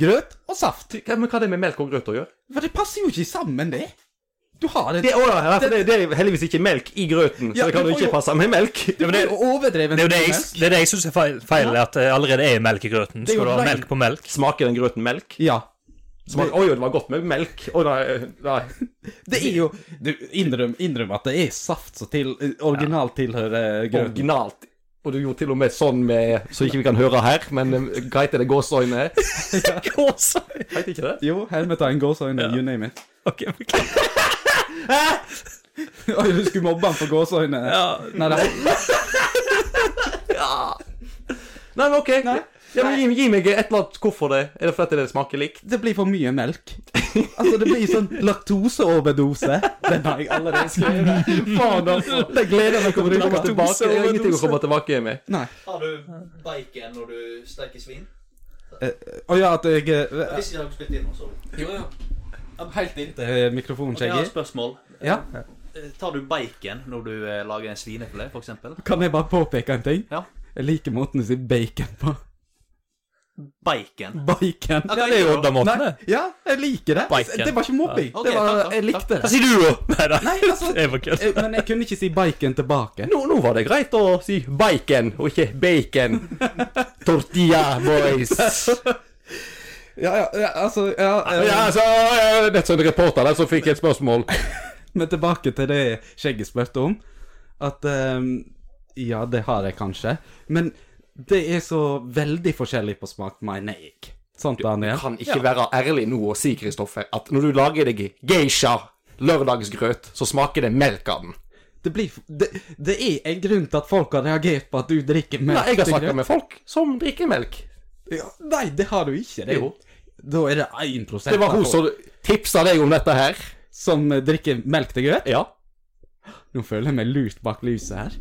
Grøt og saft.
Hva- Men hva har det med melk og grøt å gjøre?
Men det passer jo ikke sammen, det. Du har det,
Det, å, ja, for det, det er heldigvis ikke melk i grøten,
Ja,
så det kan
du
jo
får
ikke
jo-
passe med melk.
Du får jo overdreven
Det er jo det jeg,
melk.
det er det jeg syns er feil, feil er at det allerede er melk i grøten.
er jo
Skal du ha
rein-
melk på melk?
Smaker den grøten melk?
Ja.
Smaker, oi, det var godt med melk. Å, nei, eh, nei.
Det er jo Du, innrøm, innrøm at det er saft som til, eh, originalt tilhører eh, grøten.
Originalt. Og du gjorde til og med sånn med Så ikke vi kan høre her, men eh, hva heter det? Gåseøyne? Heter ikke det?
Jo, hermetegn, gåseøyne, you name it.
Ok, beklager.
Oi, du skulle mobbe han for gåseøyne. Nei, det,
Nei, men OK. Ja, men gi, gi meg et eller annet hvorfor det. Er det fordi det smaker likt?
det blir for mye melk. Altså, det blir sånn laktoseoverdose. Den har jeg allerede skrevet.
Faen, altså. Det gleder jeg meg til å komme tilbake Jeg har ingenting å komme tilbake med.
Nei.
Har du bacon når du steker svin?
Å ja, at jeg eh,
Hvis ikke har du spilt inn, sorry.
Jo, jo. Helt inntil eh, mikrofonen,
Jeg har et
Skjeggy.
spørsmål.
Ja.
Eh, Tar du bacon når du eh, lager en svinefilet, for eksempel?
Kan jeg bare påpeke en ting?
Ja.
Jeg liker måten du sier bacon på.
Bacon.
Bacon.
Det er jo Odda-måten, det.
Ja, jeg liker det.
Bacon.
Det var ikke mobbing.
Ja. Ok,
det var,
takk, takk,
jeg likte
Hva
det.
sier du, da? Nei da.
Nei, altså
Jeg bare kødder.
eh, Men jeg kunne ikke si bacon tilbake.
Nå, nå var det greit å si bacon, og ikke bacon. Tortilla boys.
Ja, ja, ja, altså ja, eh,
Ja, altså, eh, Nett som en reporter der som fikk et spørsmål.
Men tilbake til det Skjegget spurte om. At ehm, Ja, det har jeg kanskje. Men det er så veldig forskjellig på smak, mener jeg. Sant, Daniel?
Kan ikke være ærlig nå og si, Kristoffer, at når du lager deg geisha lørdagsgrøt, så smaker det melk av den.
Det, blir, det, det er en grunn til at folk har reagert på at du drikker melk.
Nei, jeg har
til
snakka
grøt.
med folk som drikker melk.
ja, Nei, det har du ikke. Det,
Jo.
Da er det 1
Det var
av
hun
folk
som tipsa deg om dette her.
som eh, drikker melk til grøt.
Ja.
Nå føler jeg meg lurt bak lyset her.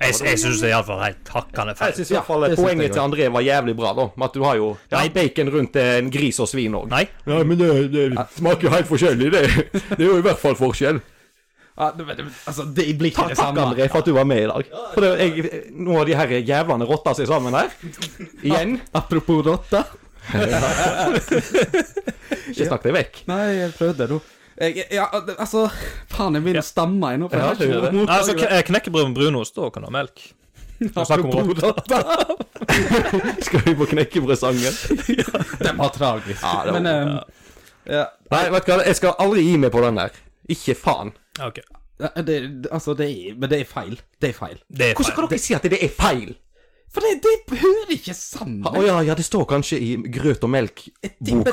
Jeg, jeg syns det er iallfall helt hakkende
Jeg
feil.
syns iallfall
det synes jeg
poenget
også.
til André var jævlig bra, da. Med at du har jo ja,
Nei.
bacon rundt en gris og svin òg.
Nei.
Ja, men det, smaker jo helt forskjellig, det. Det er jo i hvert fall forskjell.
Ja, det, det, altså, det blir ikke
Takk, André, for at du var med i dag. For det, jeg, nå har de her jævlene rotta seg sammen her. Igjen.
Apropos rotter.
Ikke snakk deg vekk.
Nei, jeg prøvde nå. Jeg, ja, det- altså Faen, jeg begynner å stamme jeg nå. For
Ja,
jeg har
du gjør
ikke
det.
Nei, altså,
mottaker.
kn- Knekkebrød med brunost, da kan du ha melk. Nå snakker vi om rotter.
Apropos rotter.
Skal vi på knekkebrødsangen?
Den var tragisk.
Ja, det var-
Men ehm, ja.
Nei, vet du hva, jeg skal aldri gi meg på den der. Ikke faen.
Ok,
Ja, det, altså, det er, men det er feil. Det er feil.
Det er
Hvordan
feil.
kan dere si at det er feil?
For det, det hører ikke sammen.
Å ja, ja, det står kanskje i Grøt og melk-boka som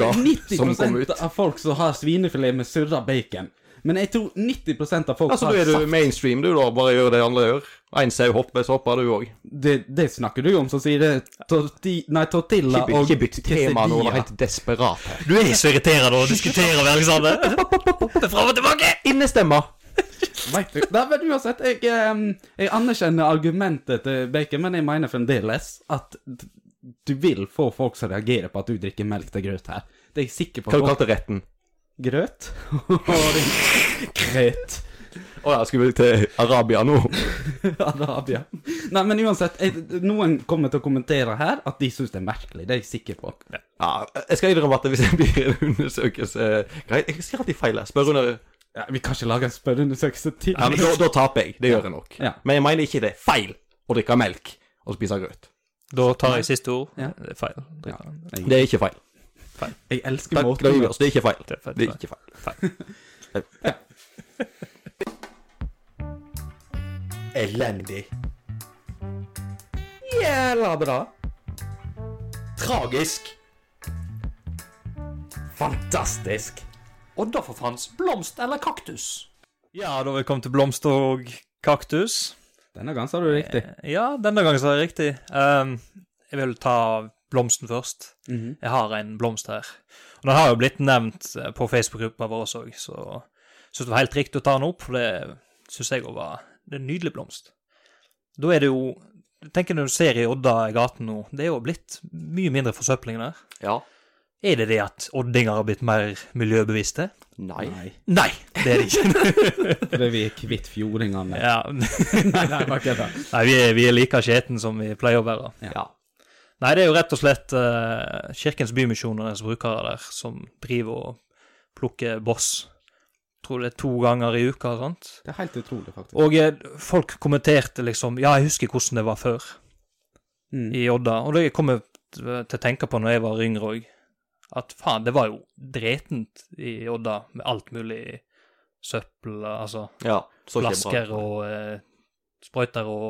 kom
90
ut.
av folk som har svinefilet med surra bacon. Men jeg tror 90 av folk
Altså,
har
da er du
sagt
mainstream, du, da. Bare gjør det andre gjør. Én sau hopper, så hopper du òg.
det, det snakker du om, som sier det. Torti, nei, tortilla
Ikke
og
ikke bytt tema nå, det er
quesadilla.
helt desperat her.
Du er så irriterende å diskutere med Alexander. Fram og tilbake!
Innestemma!
Vet du- Nei, men uansett, jeg, ehm, jeg anerkjenner argumentet til bacon, men jeg mener fremdeles at d- du vil få folk som reagerer på at du drikker melk til grøt her. Det er jeg sikker på.
Hva du kalte retten?
Grøt? Grøt.
Å ja, skal vi til Arabia nå?
Arabia. Nei, men uansett, jeg, noen kommer til å kommentere her at de syns det er merkelig. Det er jeg sikker på.
Ja, jeg skal innrømme at hvis jeg blir en undersøkelse Greit, jeg sier alltid feil. her. Spør under ja,
Ja, vi kan ikke lage en spørreundersøkelse til.
men da, da taper jeg. Det gjør jeg nok.
Ja.
Men jeg mener ikke det er feil å drikke melk og spise grøt.
Da tar jeg siste ord.
Ja.
Det er feil. Det er
Mm.
Det er ikke feil.
Jeg elsker
Takk,
måten
da gir vi oss. Det er ikke feil.
Det er feil.
Det er ikke feil.
feil.
Elendig. Jævla bra. Tragisk. Fantastisk.
Oddaforfans blomst eller kaktus?
Ja, da har vi kommet til blomst og kaktus.
Denne gangen sa du det riktig.
Ja, denne gangen så er det riktig. Ehm, jeg vil ta blomsten først. Jeg har en blomst her. Og den har jo blitt nevnt eh, på Facebook-gruppa vår også, så syns det var helt riktig å ta den opp, for det syns jeg òg var Det er en nydelig blomst. Da er det jo Tenk når du ser i Odda i gaten nå, det er jo blitt mye mindre forsøpling der.
Ja.
Er det det at oddinger har blitt mer miljøbevisste?
Nei.
Nei,
Nei, det er det ikke.
fordi vi er kvitt fjordingene.
ja.
Nei, nei, bare kødda.
Nei, vi er, vi er like skjeten som vi pleier å være.
Ja.
Nei, det er jo rett og slett eh, Kirkens Bymisjoners brukere der som driver og plukker boss. Tror det er to ganger i uka og sånt.
Det er helt utrolig, faktisk.
Og eh, folk kommenterte liksom Ja, jeg husker hvordan det var før
Mm.
i Odda. Og det kom jeg t- til å tenke på når jeg var yngre òg. At faen, det var jo dretent i Odda med alt mulig søppel, altså
ja. Så ikke bra.
flasker og eh, sprøyter og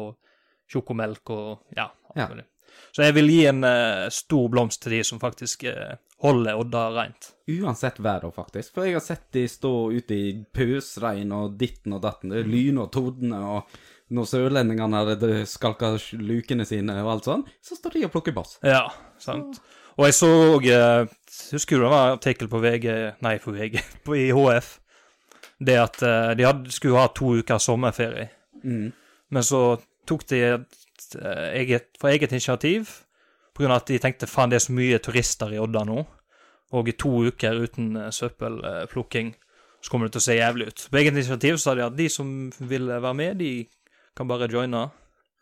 sjokomelk og ja, alt
Ja.
mulig. Så jeg vil gi en eh, stor blomst til de som faktisk eh, holder Odda rent.
Uansett vær, da, faktisk. For jeg har sett de stå ute i pøsregn og ditten og datten. Det er lyn og tordne, og når sørlendingene hadde skalka lukene sine og alt sånn, så står de og plukker bass.
Ja, sant. Og jeg så eh, Husker du det var en artikkel på VG Nei, på VG, på, i HF. Det at eh, de hadde, skulle ha to uker sommerferie.
Mm.
Men så tok de et eh, eget, fra eget initiativ, på grunn av at de tenkte faen, det er så mye turister i Odda nå, og i to uker uten eh, søppelplukking, så kommer det til å se jævlig ut. På eget initiativ sa de at de som ville være med, de kan bare joine.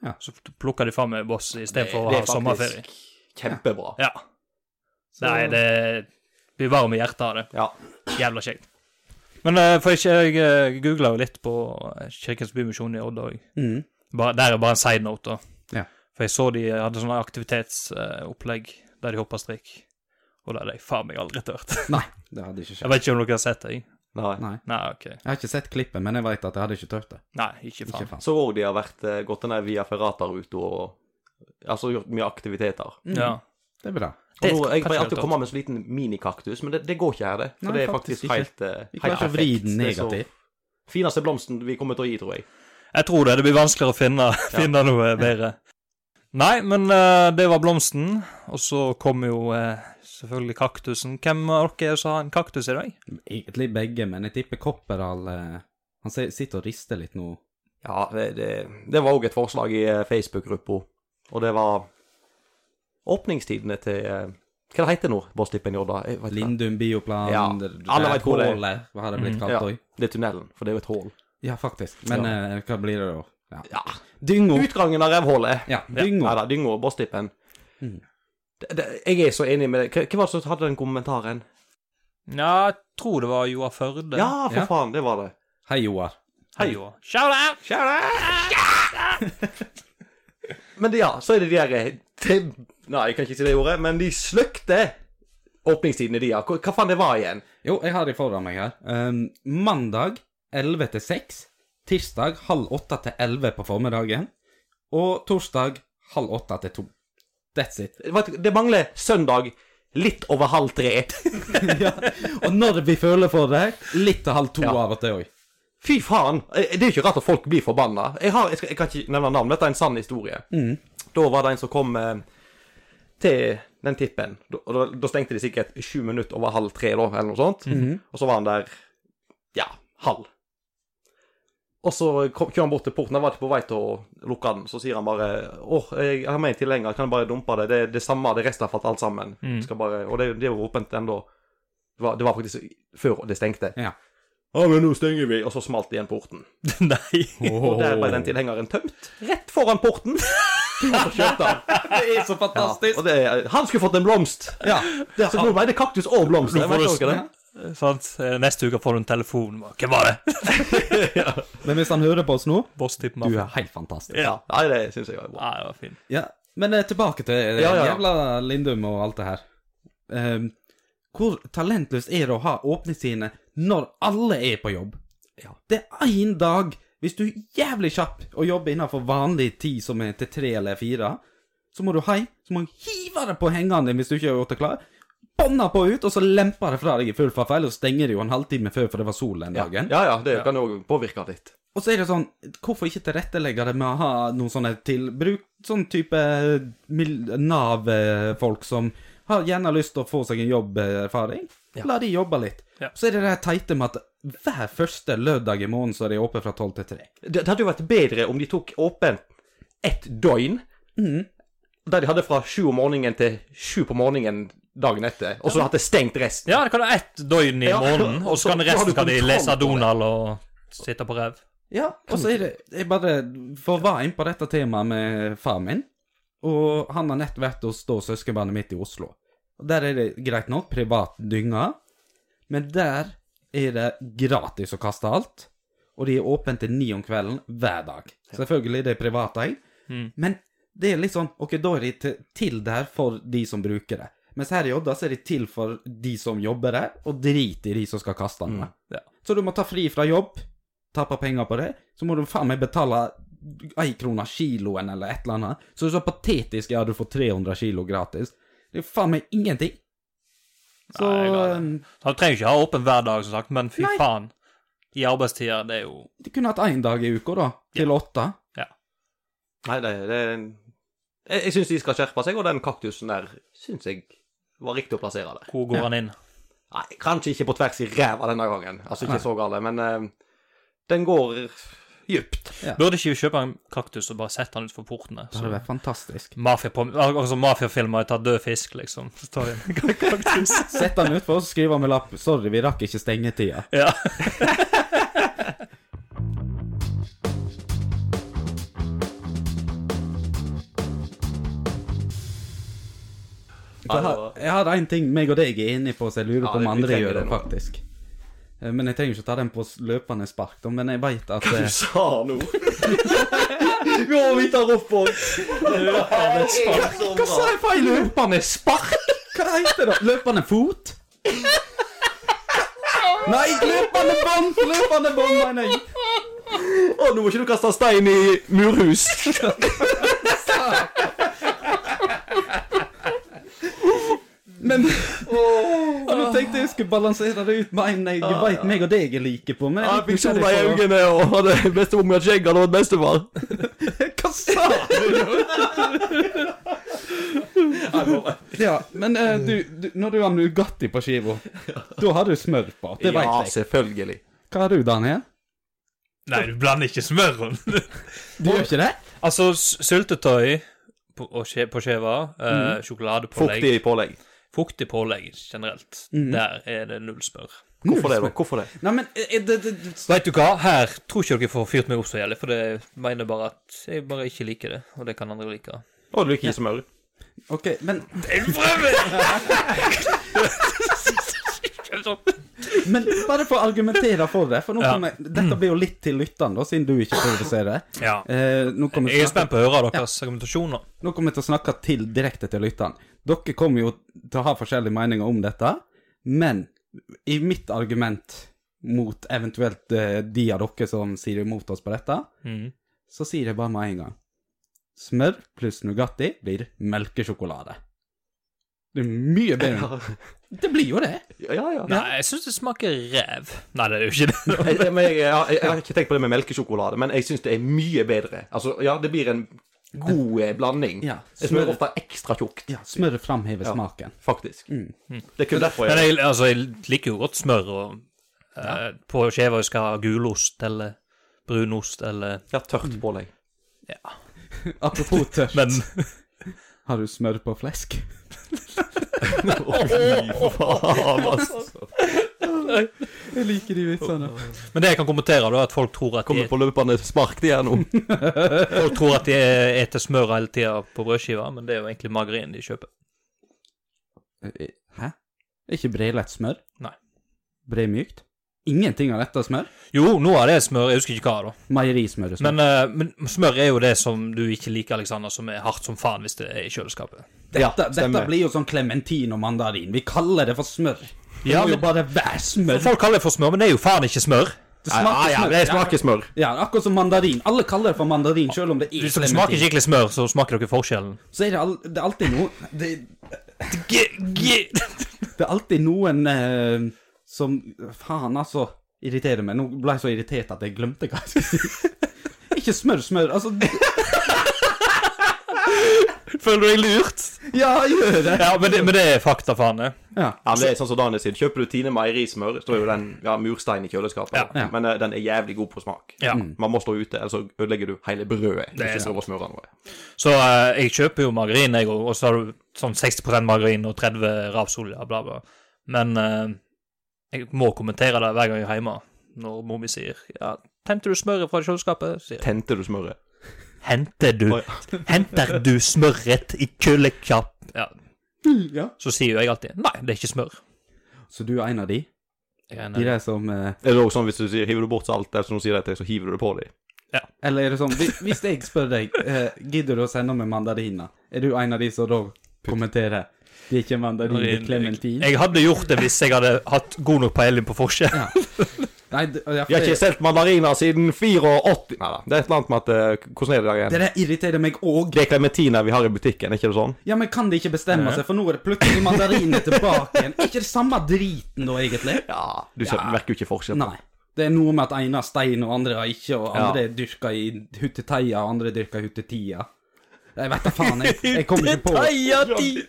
Ja.
Så plukker de fram med boss istedenfor å
Det
ha
er
sommerferie.
faktisk kjempebra.
Ja. Nei, det blir varm i hjertet av det.
Ja.
Jævla kjekt. Men eh, for ikke, jeg uh, googla jo litt på eh, Kirkens Bymisjon i Odda òg.
Mm.
Bare, der er bare en side note, da.
Ja.
For jeg så de hadde sånne aktivitetsopplegg der de hoppa strikk. Og det hadde jeg faen meg aldri tørt.
Nei, det hadde ikke
Jeg
skjedd.
vet ikke om dere har sett det? jeg.
Nei.
Nei.
Nei, ok.
Jeg har ikke sett klippet, men jeg veit at jeg hadde ikke tørt det.
Nei, ikke faen.
Ikke faen.
Så òg de har vært, eh, gått den der via Ferrata-ruta og altså gjort mye aktiviteter.
Mm.
Ja.
Det er bra.
Og
Det
nå, jeg
kan
pleier
ikke
alltid å
være
komme med en sånn liten minikaktus, men det, det går ikke her, det. For
Nei,
det er
faktisk
faktisk
ikke.
helt, eh,
Vi
helt
klarer ikke å vri den
perfekt. Det er så-
negativ.
Fineste blomsten vi kommer til å gi, tror jeg.
Jeg tror det. Det blir vanskeligere å finne, finne noe bedre. Nei, men eh, det var blomsten. Og så kom jo eh, selvfølgelig kaktusen. Hvem av dere er det som har en kaktus i dag?
Egentlig begge, men jeg tipper Kopperall eh, Han se- sitter og rister litt nå.
Ja, det, det, det var òg et forslag i eh, Facebook-gruppa, og det var åpningstidene til eh, Hva det heter det nå, Boss-tippen Jodda? Jeg vet ikke.
Lindum bioplan
Ja,
det- det
alle
der
vet hvor det er. Mm,
hullet, Hva har det blitt kalt
Ja,
òg?
det er tunnelen, for det er jo et hull.
Ja. faktisk. Men eh, hva blir det da? Ja.
Ja.
Dyngo.
Utgangen av revhullet.
Ja,
Nei
dyngo.
da, Dyngo og Boss-tippen. Det- det- Jeg er så enig med deg. Hva- Hvem var det som hadde den kommentaren?
Ja, jeg tror det var Joar Førde.
Ja, for
Ja.
faen, det var det.
Hei, Joar.
Hei, Joar. Shout out!
Men det- ja, så er det de der de, Nei, jeg kan ikke si det ordet, men de slukte åpningstidene de har. Hva, hva faen det var igjen?
Jo, jeg har de foran meg her. Um, mandag 11 til 6. Tirsdag halv åtte til 11 på formiddagen. Og torsdag halv åtte til 2. That's it.
Det var- Det mangler søndag litt over halv tre.
ja. Og når vi føler for det, litt til halv to
Ja.
av og til òg.
Fy faen! Eh, Det er jo ikke rart at folk blir forbanna. Jeg, har, jeg, skal, jeg kan ikke nevne navn, dette er en sann historie. Da var det en som kom eh, til den tippen. Da- Og da, da stengte de sikkert sju minutter over halv tre, da, eller noe sånt. Og så var han der ja, halv. Og så kom, kjører han bort til porten, han var ikke på vei til å lukke den. Så sier han bare 'Åh, jeg har med en tilhenger, kan jeg bare dumpe det?' Det er det samme, det er restavfall, alt sammen. Skal bare, og det, er jo- det er jo åpent ennå. Det, var- det var faktisk før det stengte.
Ja.
Ja, Ah, men nå stenger vi. Og så smalt igjen porten.
Nei.
Og der ble den tilhengeren tømt. Rett foran porten. Og så kjørte han.
Det er så fantastisk.
Og det, han skulle fått en blomst.
Ja.
Så nå ble det kaktus og blomst. Jeg vet ikke hva det er.
Sant? Eh, Neste uke får du en telefon. bare, Hvem var det?
Men hvis han hører på oss nå
Boss-tippen.
Du
Ja.
er helt fantastisk.
Ja, Nei, det syns jeg var bra.
Nei, det var fint.
Ja, men eh, tilbake til eh,
Ja, ja, ja.
jævla Lindum og alt det her. Ehm, hvor talentløst er det å ha åpningstidene når alle er på jobb?
Ja.
Det er én dag. Hvis du er jævlig kjapp og jobber innenfor vanlig tid, som er til tre eller fire, så må du hjem, så må du hive det på hengene dine hvis du ikke har gjort det klar. Bånda på ut, og så lemper det fra deg i full farfeil, og stenger det jo en halvtime før, for det var sol den dagen.
Ja, ja, det kan jo påvirke litt.
Og så er det sånn, hvorfor ikke tilrettelegge det med å ha noen sånne til Bruk sånn type mil- Nav-folk som har gjerne lyst til å få seg en jobberfaring. La de jobbe litt.
Ja.
Så er det det teite med at hver første lørdag i måneden så er de åpne fra tolv til tre.
Det, det hadde jo vært bedre om de tok åpent ett døgn. Der de hadde fra sju om morgenen til sju på morgenen dagen etter. Og så hadde det stengt resten.
Ja, det kan være ett døgn i
Ja,
måneden, og så kan
så- så har du
resten kan de
kontroll
lese
på det.
Donald og sitte på ræv.
Ja, og så er det Jeg bare For å være inne på dette temaet med far min, og han har nett vært hos da søskenbarnet mitt i Oslo. Og Der er det greit nok privat dynga, men der er det gratis å kaste alt. Og de er åpne til ni om kvelden hver dag. Selvfølgelig, det er privat òg.
Mm.
Men det er litt sånn Ok, da er de til, til der for de som bruker det. Mens her i Odda så er de til for de som jobber der, og drit i de som skal kaste
Mm,
noe. Så du må ta fri fra jobb, tappe penger på det, så må du faen meg betale ei krone kiloen eller et eller annet. Så det er så patetisk ja, du får 300 kilo gratis. Det er faen meg ingenting. Så
Nei, jeg ga det.
um,
Så du trenger ikke ha åpen hver dag, som sagt, men fy
Nei.
faen. I arbeidstider, det er jo
du kunne hatt én dag i uka, da. Til åtte.
Nei, det, det Jeg, jeg syns de skal skjerpe seg, og den kaktusen der syns jeg var riktig å plassere der.
Hvor går han inn?
Nei, kanskje ikke på tvers i ræva denne gangen. Altså ikke så gale, men eh, den går djupt.
Burde ikke vi kjøpe en kaktus og bare sette han ut for portene?
Det hadde vært fantastisk.
Mafia på, altså mafiafilmer tar død fisk, liksom. Så tar vi en kaktus.
Sett den utfor, så skriver han med lapp 'Sorry, vi rakk ikke stengetida'.
Ja.
Jeg har, jeg har en ting meg og deg er enige på, så jeg lurer
Ja,
på om
vi
andre
trenger
gjør det,
det nå.
faktisk. Eh, Men jeg trenger ikke ta den på s- løpende spark, da, men jeg veit at eh,
sa nå? Gå, vi tar opp på Løpende spark. Hva sa jeg feil? Løpende spark?
Hva heter det? Løpende fot? Nei, løpende bånd! Løpende bånd, mener jeg.
Å, nå må ikke du kaste stein i murhus.
Men Nå tenkte jeg skulle balansere det ut med en jeg veit meg og deg er like på. Men
Ah,
jeg
Jeg
er litt
fikk sola i
nysgjerrig på-
øynene og hadde bestemor mi hadde skjegg, han var bestefar.
Hva sa du? ja, men eh, du, du, når du har Nugatti på skiva, da har du smør på. Det veit jeg.
selvfølgelig.
Hva har du, Daniel?
Nei, du blander ikke smøren.
Du gjør ikke det?
altså, s- syltetøy på, og skje, på skjeva, eh, sjokoladepålegg
Fuktig pålegg.
Fuktig pålegg generelt. Der er det null smør.
Hvorfor det, da? Hvorfor det?
Nei, men eh, det, det, det,
Veit du hva, her tror ikke dere får fyrt meg opp så jævlig, for det mener bare at jeg bare ikke liker det, og det kan andre like.
Og du liker ikke smør.
OK, men,
Jeg prøver!
men bare for å argumentere for det, for nå
Ja.
kommer, dette blir jo litt til lytteren, da, siden du ikke produserer det.
ja.
Eh, nå kommer
Jeg
vi
er
til å snakke-
spent på å høre deres argumentasjoner.
nå kommer vi til å snakke til direkte til lytteren. Dere kommer jo til å ha forskjellige meninger om dette, men i mitt argument mot eventuelt eh, de av dere som sier imot oss på dette,
Mhm.
så sier jeg bare med en gang Smør pluss Nugatti blir melkesjokolade. Det er mye bedre. Det blir jo det.
Ja, ja.
Nei, jeg syns det smaker ræv. Nei, det er jo ikke det.
Jeg, jeg, men jeg, jeg, har- jeg har ikke tenkt på det med melkesjokolade, men jeg syns det er mye bedre. Altså, ja, det blir en god eh, blanding.
Ja,
Jeg
smør-
smører ofte ekstra tjukt,
Ja, Smøret framhever smaken.
faktisk. Det er kun derfor
Mm. Men
jeg
jeg, altså, jeg liker jo godt smør, og eh, på skjeva jeg skal ha gulost eller brunost eller
jeg har tørt pålegg.
Apropos tørst,
Men
har du smør på flesk?
altså.
Jeg liker de vitsene.
Men det jeg kan kommentere, da, er at folk tror at de,
Kommer på løpende spark, de her nå.
folk tror at de eter smør hele tida på brødskiva, men det er jo egentlig margarin de kjøper.
Eh, Hæ? Er ikke bre lett smør?
Nei.
Bre mykt? Ingenting av dette er smør?
Jo, noe av det er smør, jeg husker ikke hva, da.
Meierismør er smør.
Men, eh, men smør er jo det som du ikke liker, Alexander, som er hardt som faen hvis det er i kjøleskapet.
Ja,
dette, dette
stemmer.
blir jo sånn klementin og mandarin. Vi kaller det for smør. Det
Ja,
må jo
men-
bare være smør.
Folk kaller det for smør, men det er jo faen ikke smør.
Det
Ja,
smaker
ja,
smør.
det smaker smør.
Ja, akkurat som mandarin. Alle kaller det for mandarin, selv om det er
Hvis dere
clementin.
smaker skikkelig smør, så smaker dere forskjellen.
Så er det, al det er alltid noe det,
G g
det er alltid noen eh, som Faen, altså. Irriterer meg. Nå ble jeg så irritert at jeg glemte hva jeg skulle si. Ikke smør, smør. Altså
Føler du deg lurt?
Ja, gjør det!
Ja, men det, men det er fakta, faen. det.
Ja.
Ja, men det er sånn som Daniel sier. Kjøper du Tine meierismør, står jo den ja, murstein i kjøleskapet.
Ja.
Ja.
Men eh, den er jævlig god på smak.
Ja.
Man må stå ute, ellers så ødelegger du hele brødet.
Det er
Ikke prøv å smøre noe.
Så eh, jeg kjøper jo margarin, jeg òg, og så har du sånn 60 margarin og 30 rapsolje, bla, bla. Men eh, jeg må kommentere det hver gang jeg er hjemme, når mor mi sier ja, 'Henter du smøret fra kjøleskapet?' sier jeg.
Tente du smøret?
'Henter du,
Oi.
henter du smøret i kjøleskapet?' Ja.
ja.
Så sier jo jeg alltid 'Nei, det er ikke smør'.
Så du er en av de?
Jeg er en-
De der som eh,
Er det også sånn hvis du sier hiver du bort salt, eller som du sier det til, så hiver du det på dem?
Eller er det sånn hvi- Hvis jeg spør deg eh, Gidder du å sende meg mandariner, er du en av de som da kommenterer Det er ikke mandarin, det er clementin?
Jeg hadde gjort det hvis jeg hadde hatt god nok peiling på forskjell.
Nei, det, ja, for
Vi har ikke
det,
solgt mandariner siden 84 Nei da. Det er et eller annet med at eh, Hvordan er det der
det
igjen?
der irriterer meg òg.
Det er klementiner vi har i butikken, er ikke det sånn?
Ja, men kan de ikke bestemme seg, for nå er det plutselig mandariner tilbake igjen. Er ikke det samme driten da, egentlig?
Ja, Du ser, merker jo ikke forskjell.
Nei. Det er noe med at ene har stein, og andre har ikke, og andre er dyrka i hutteteia, og andre dyrka i huttetia. Jeg vet da faen, jeg, jeg kom ikke på
Nei, ja, de-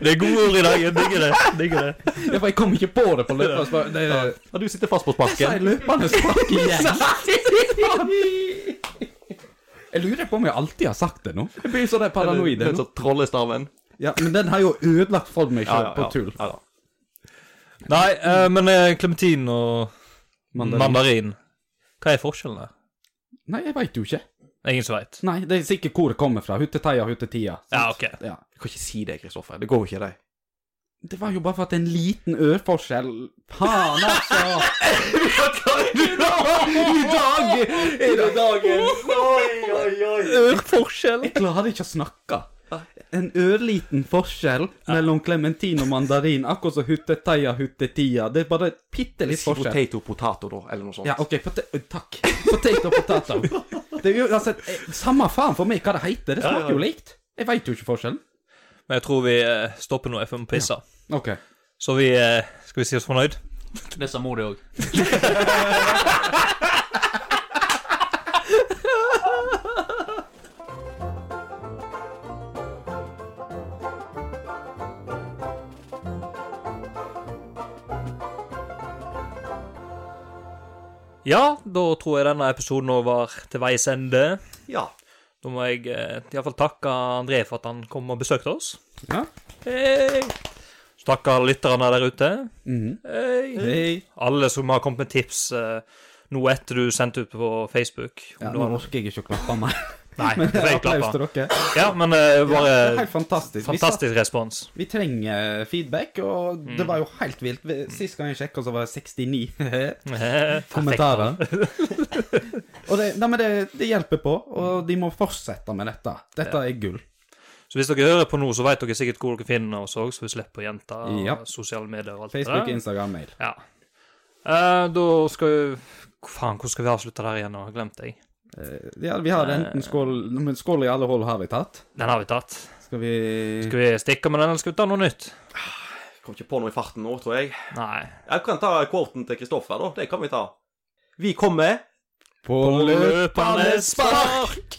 Det er gode ord i dag. Jeg digger det. Digger det.
Ja, for Jeg kom ikke på det på løpet. og så bare- Det
Ja, du sitter fast på
Så er
sparken.
løpende spark igjen. Jeg lurer på om jeg alltid har sagt det nå. Jeg blir så der paranoid.
Den
nå.
som trollestaven.
Ja, men den har jo ødelagt for meg
Ja,
selv
ja,
på
ja.
tull.
Ja, da.
Nei, eh, men eh, klementin og mandarin.
Mandarin.
Hva er forskjellen der?
Nei, jeg veit jo ikke.
Det er Ingen som veit.
Nei, det er sikkert hvor det kommer fra. Hutteteia, huttetia. sant?
Ja, ok.
Ja.
Du kan ikke si det, Kristoffer. Det går jo ikke, det.
Det var jo bare for at en liten ørforskjell Faen, altså! I dag er det dagen!
Ørforskjell?
Jeg klarer ikke å snakke. En ørliten forskjell mellom klementin og mandarin, akkurat som hutteteia, huttetia. Det er bare et bitte litt
Si
forskjell.
potato potato, da, eller noe sånt.
Ja, OK, pote ø, takk. Potato, potato. Det er jo altså eh, Samme faen for meg hva det heter. Det smaker jo likt. Jeg veit jo ikke forskjellen.
Men jeg tror vi eh, stopper nå, jeg får pisse.
OK.
Så vi eh, Skal vi si oss fornøyd?
Det sa mor di òg.
Ja, da tror jeg denne episoden over til veis ende.
Ja.
Da må jeg eh, iallfall takke André for at han kom og besøkte oss.
Ja.
Hei! Så takker lytterne der ute. Hei!
Mhm. Hei.
Alle som har kommet med tips eh, nå etter du sendte ut på Facebook. Om
Ja,
du
nå
har-
orker jeg ikke å klappe mer.
Nei, det er jeg
Applaus
klappa.
til dere.
Ja, men eh, bare
Det er helt fantastisk. Vi, satt,
fantastisk Mm. respons.
vi trenger feedback, og det var jo helt vilt. Vi- Sist gang jeg sjekka, så var det 69
Perfekt.
kommentarer. og det, nei, men det, det hjelper på, og de må fortsette med dette. Dette er gull.
Så hvis dere hører på nå, så vet dere sikkert hvor dere finner oss òg, så vi slipper å gjenta
Ja.
sosiale medier og alt
Facebook,
det der.
Instagram, mail.
Ja. Eh, da skal vi Faen, hvordan skal vi avslutte der igjen? Nå har jeg glemt deg.
Ja, vi har
Eh.
enten skål Nei, men Skål i alle hold har vi tatt.
Den har vi tatt.
Skal vi
Skal vi stikke med den, eller skal vi ta noe nytt?
Kom ikke på noe i farten nå, tror jeg.
Nei.
Jeg kan ta quoten til Kristoffer, da. Det kan vi ta. Vi kommer
På løpende
spark!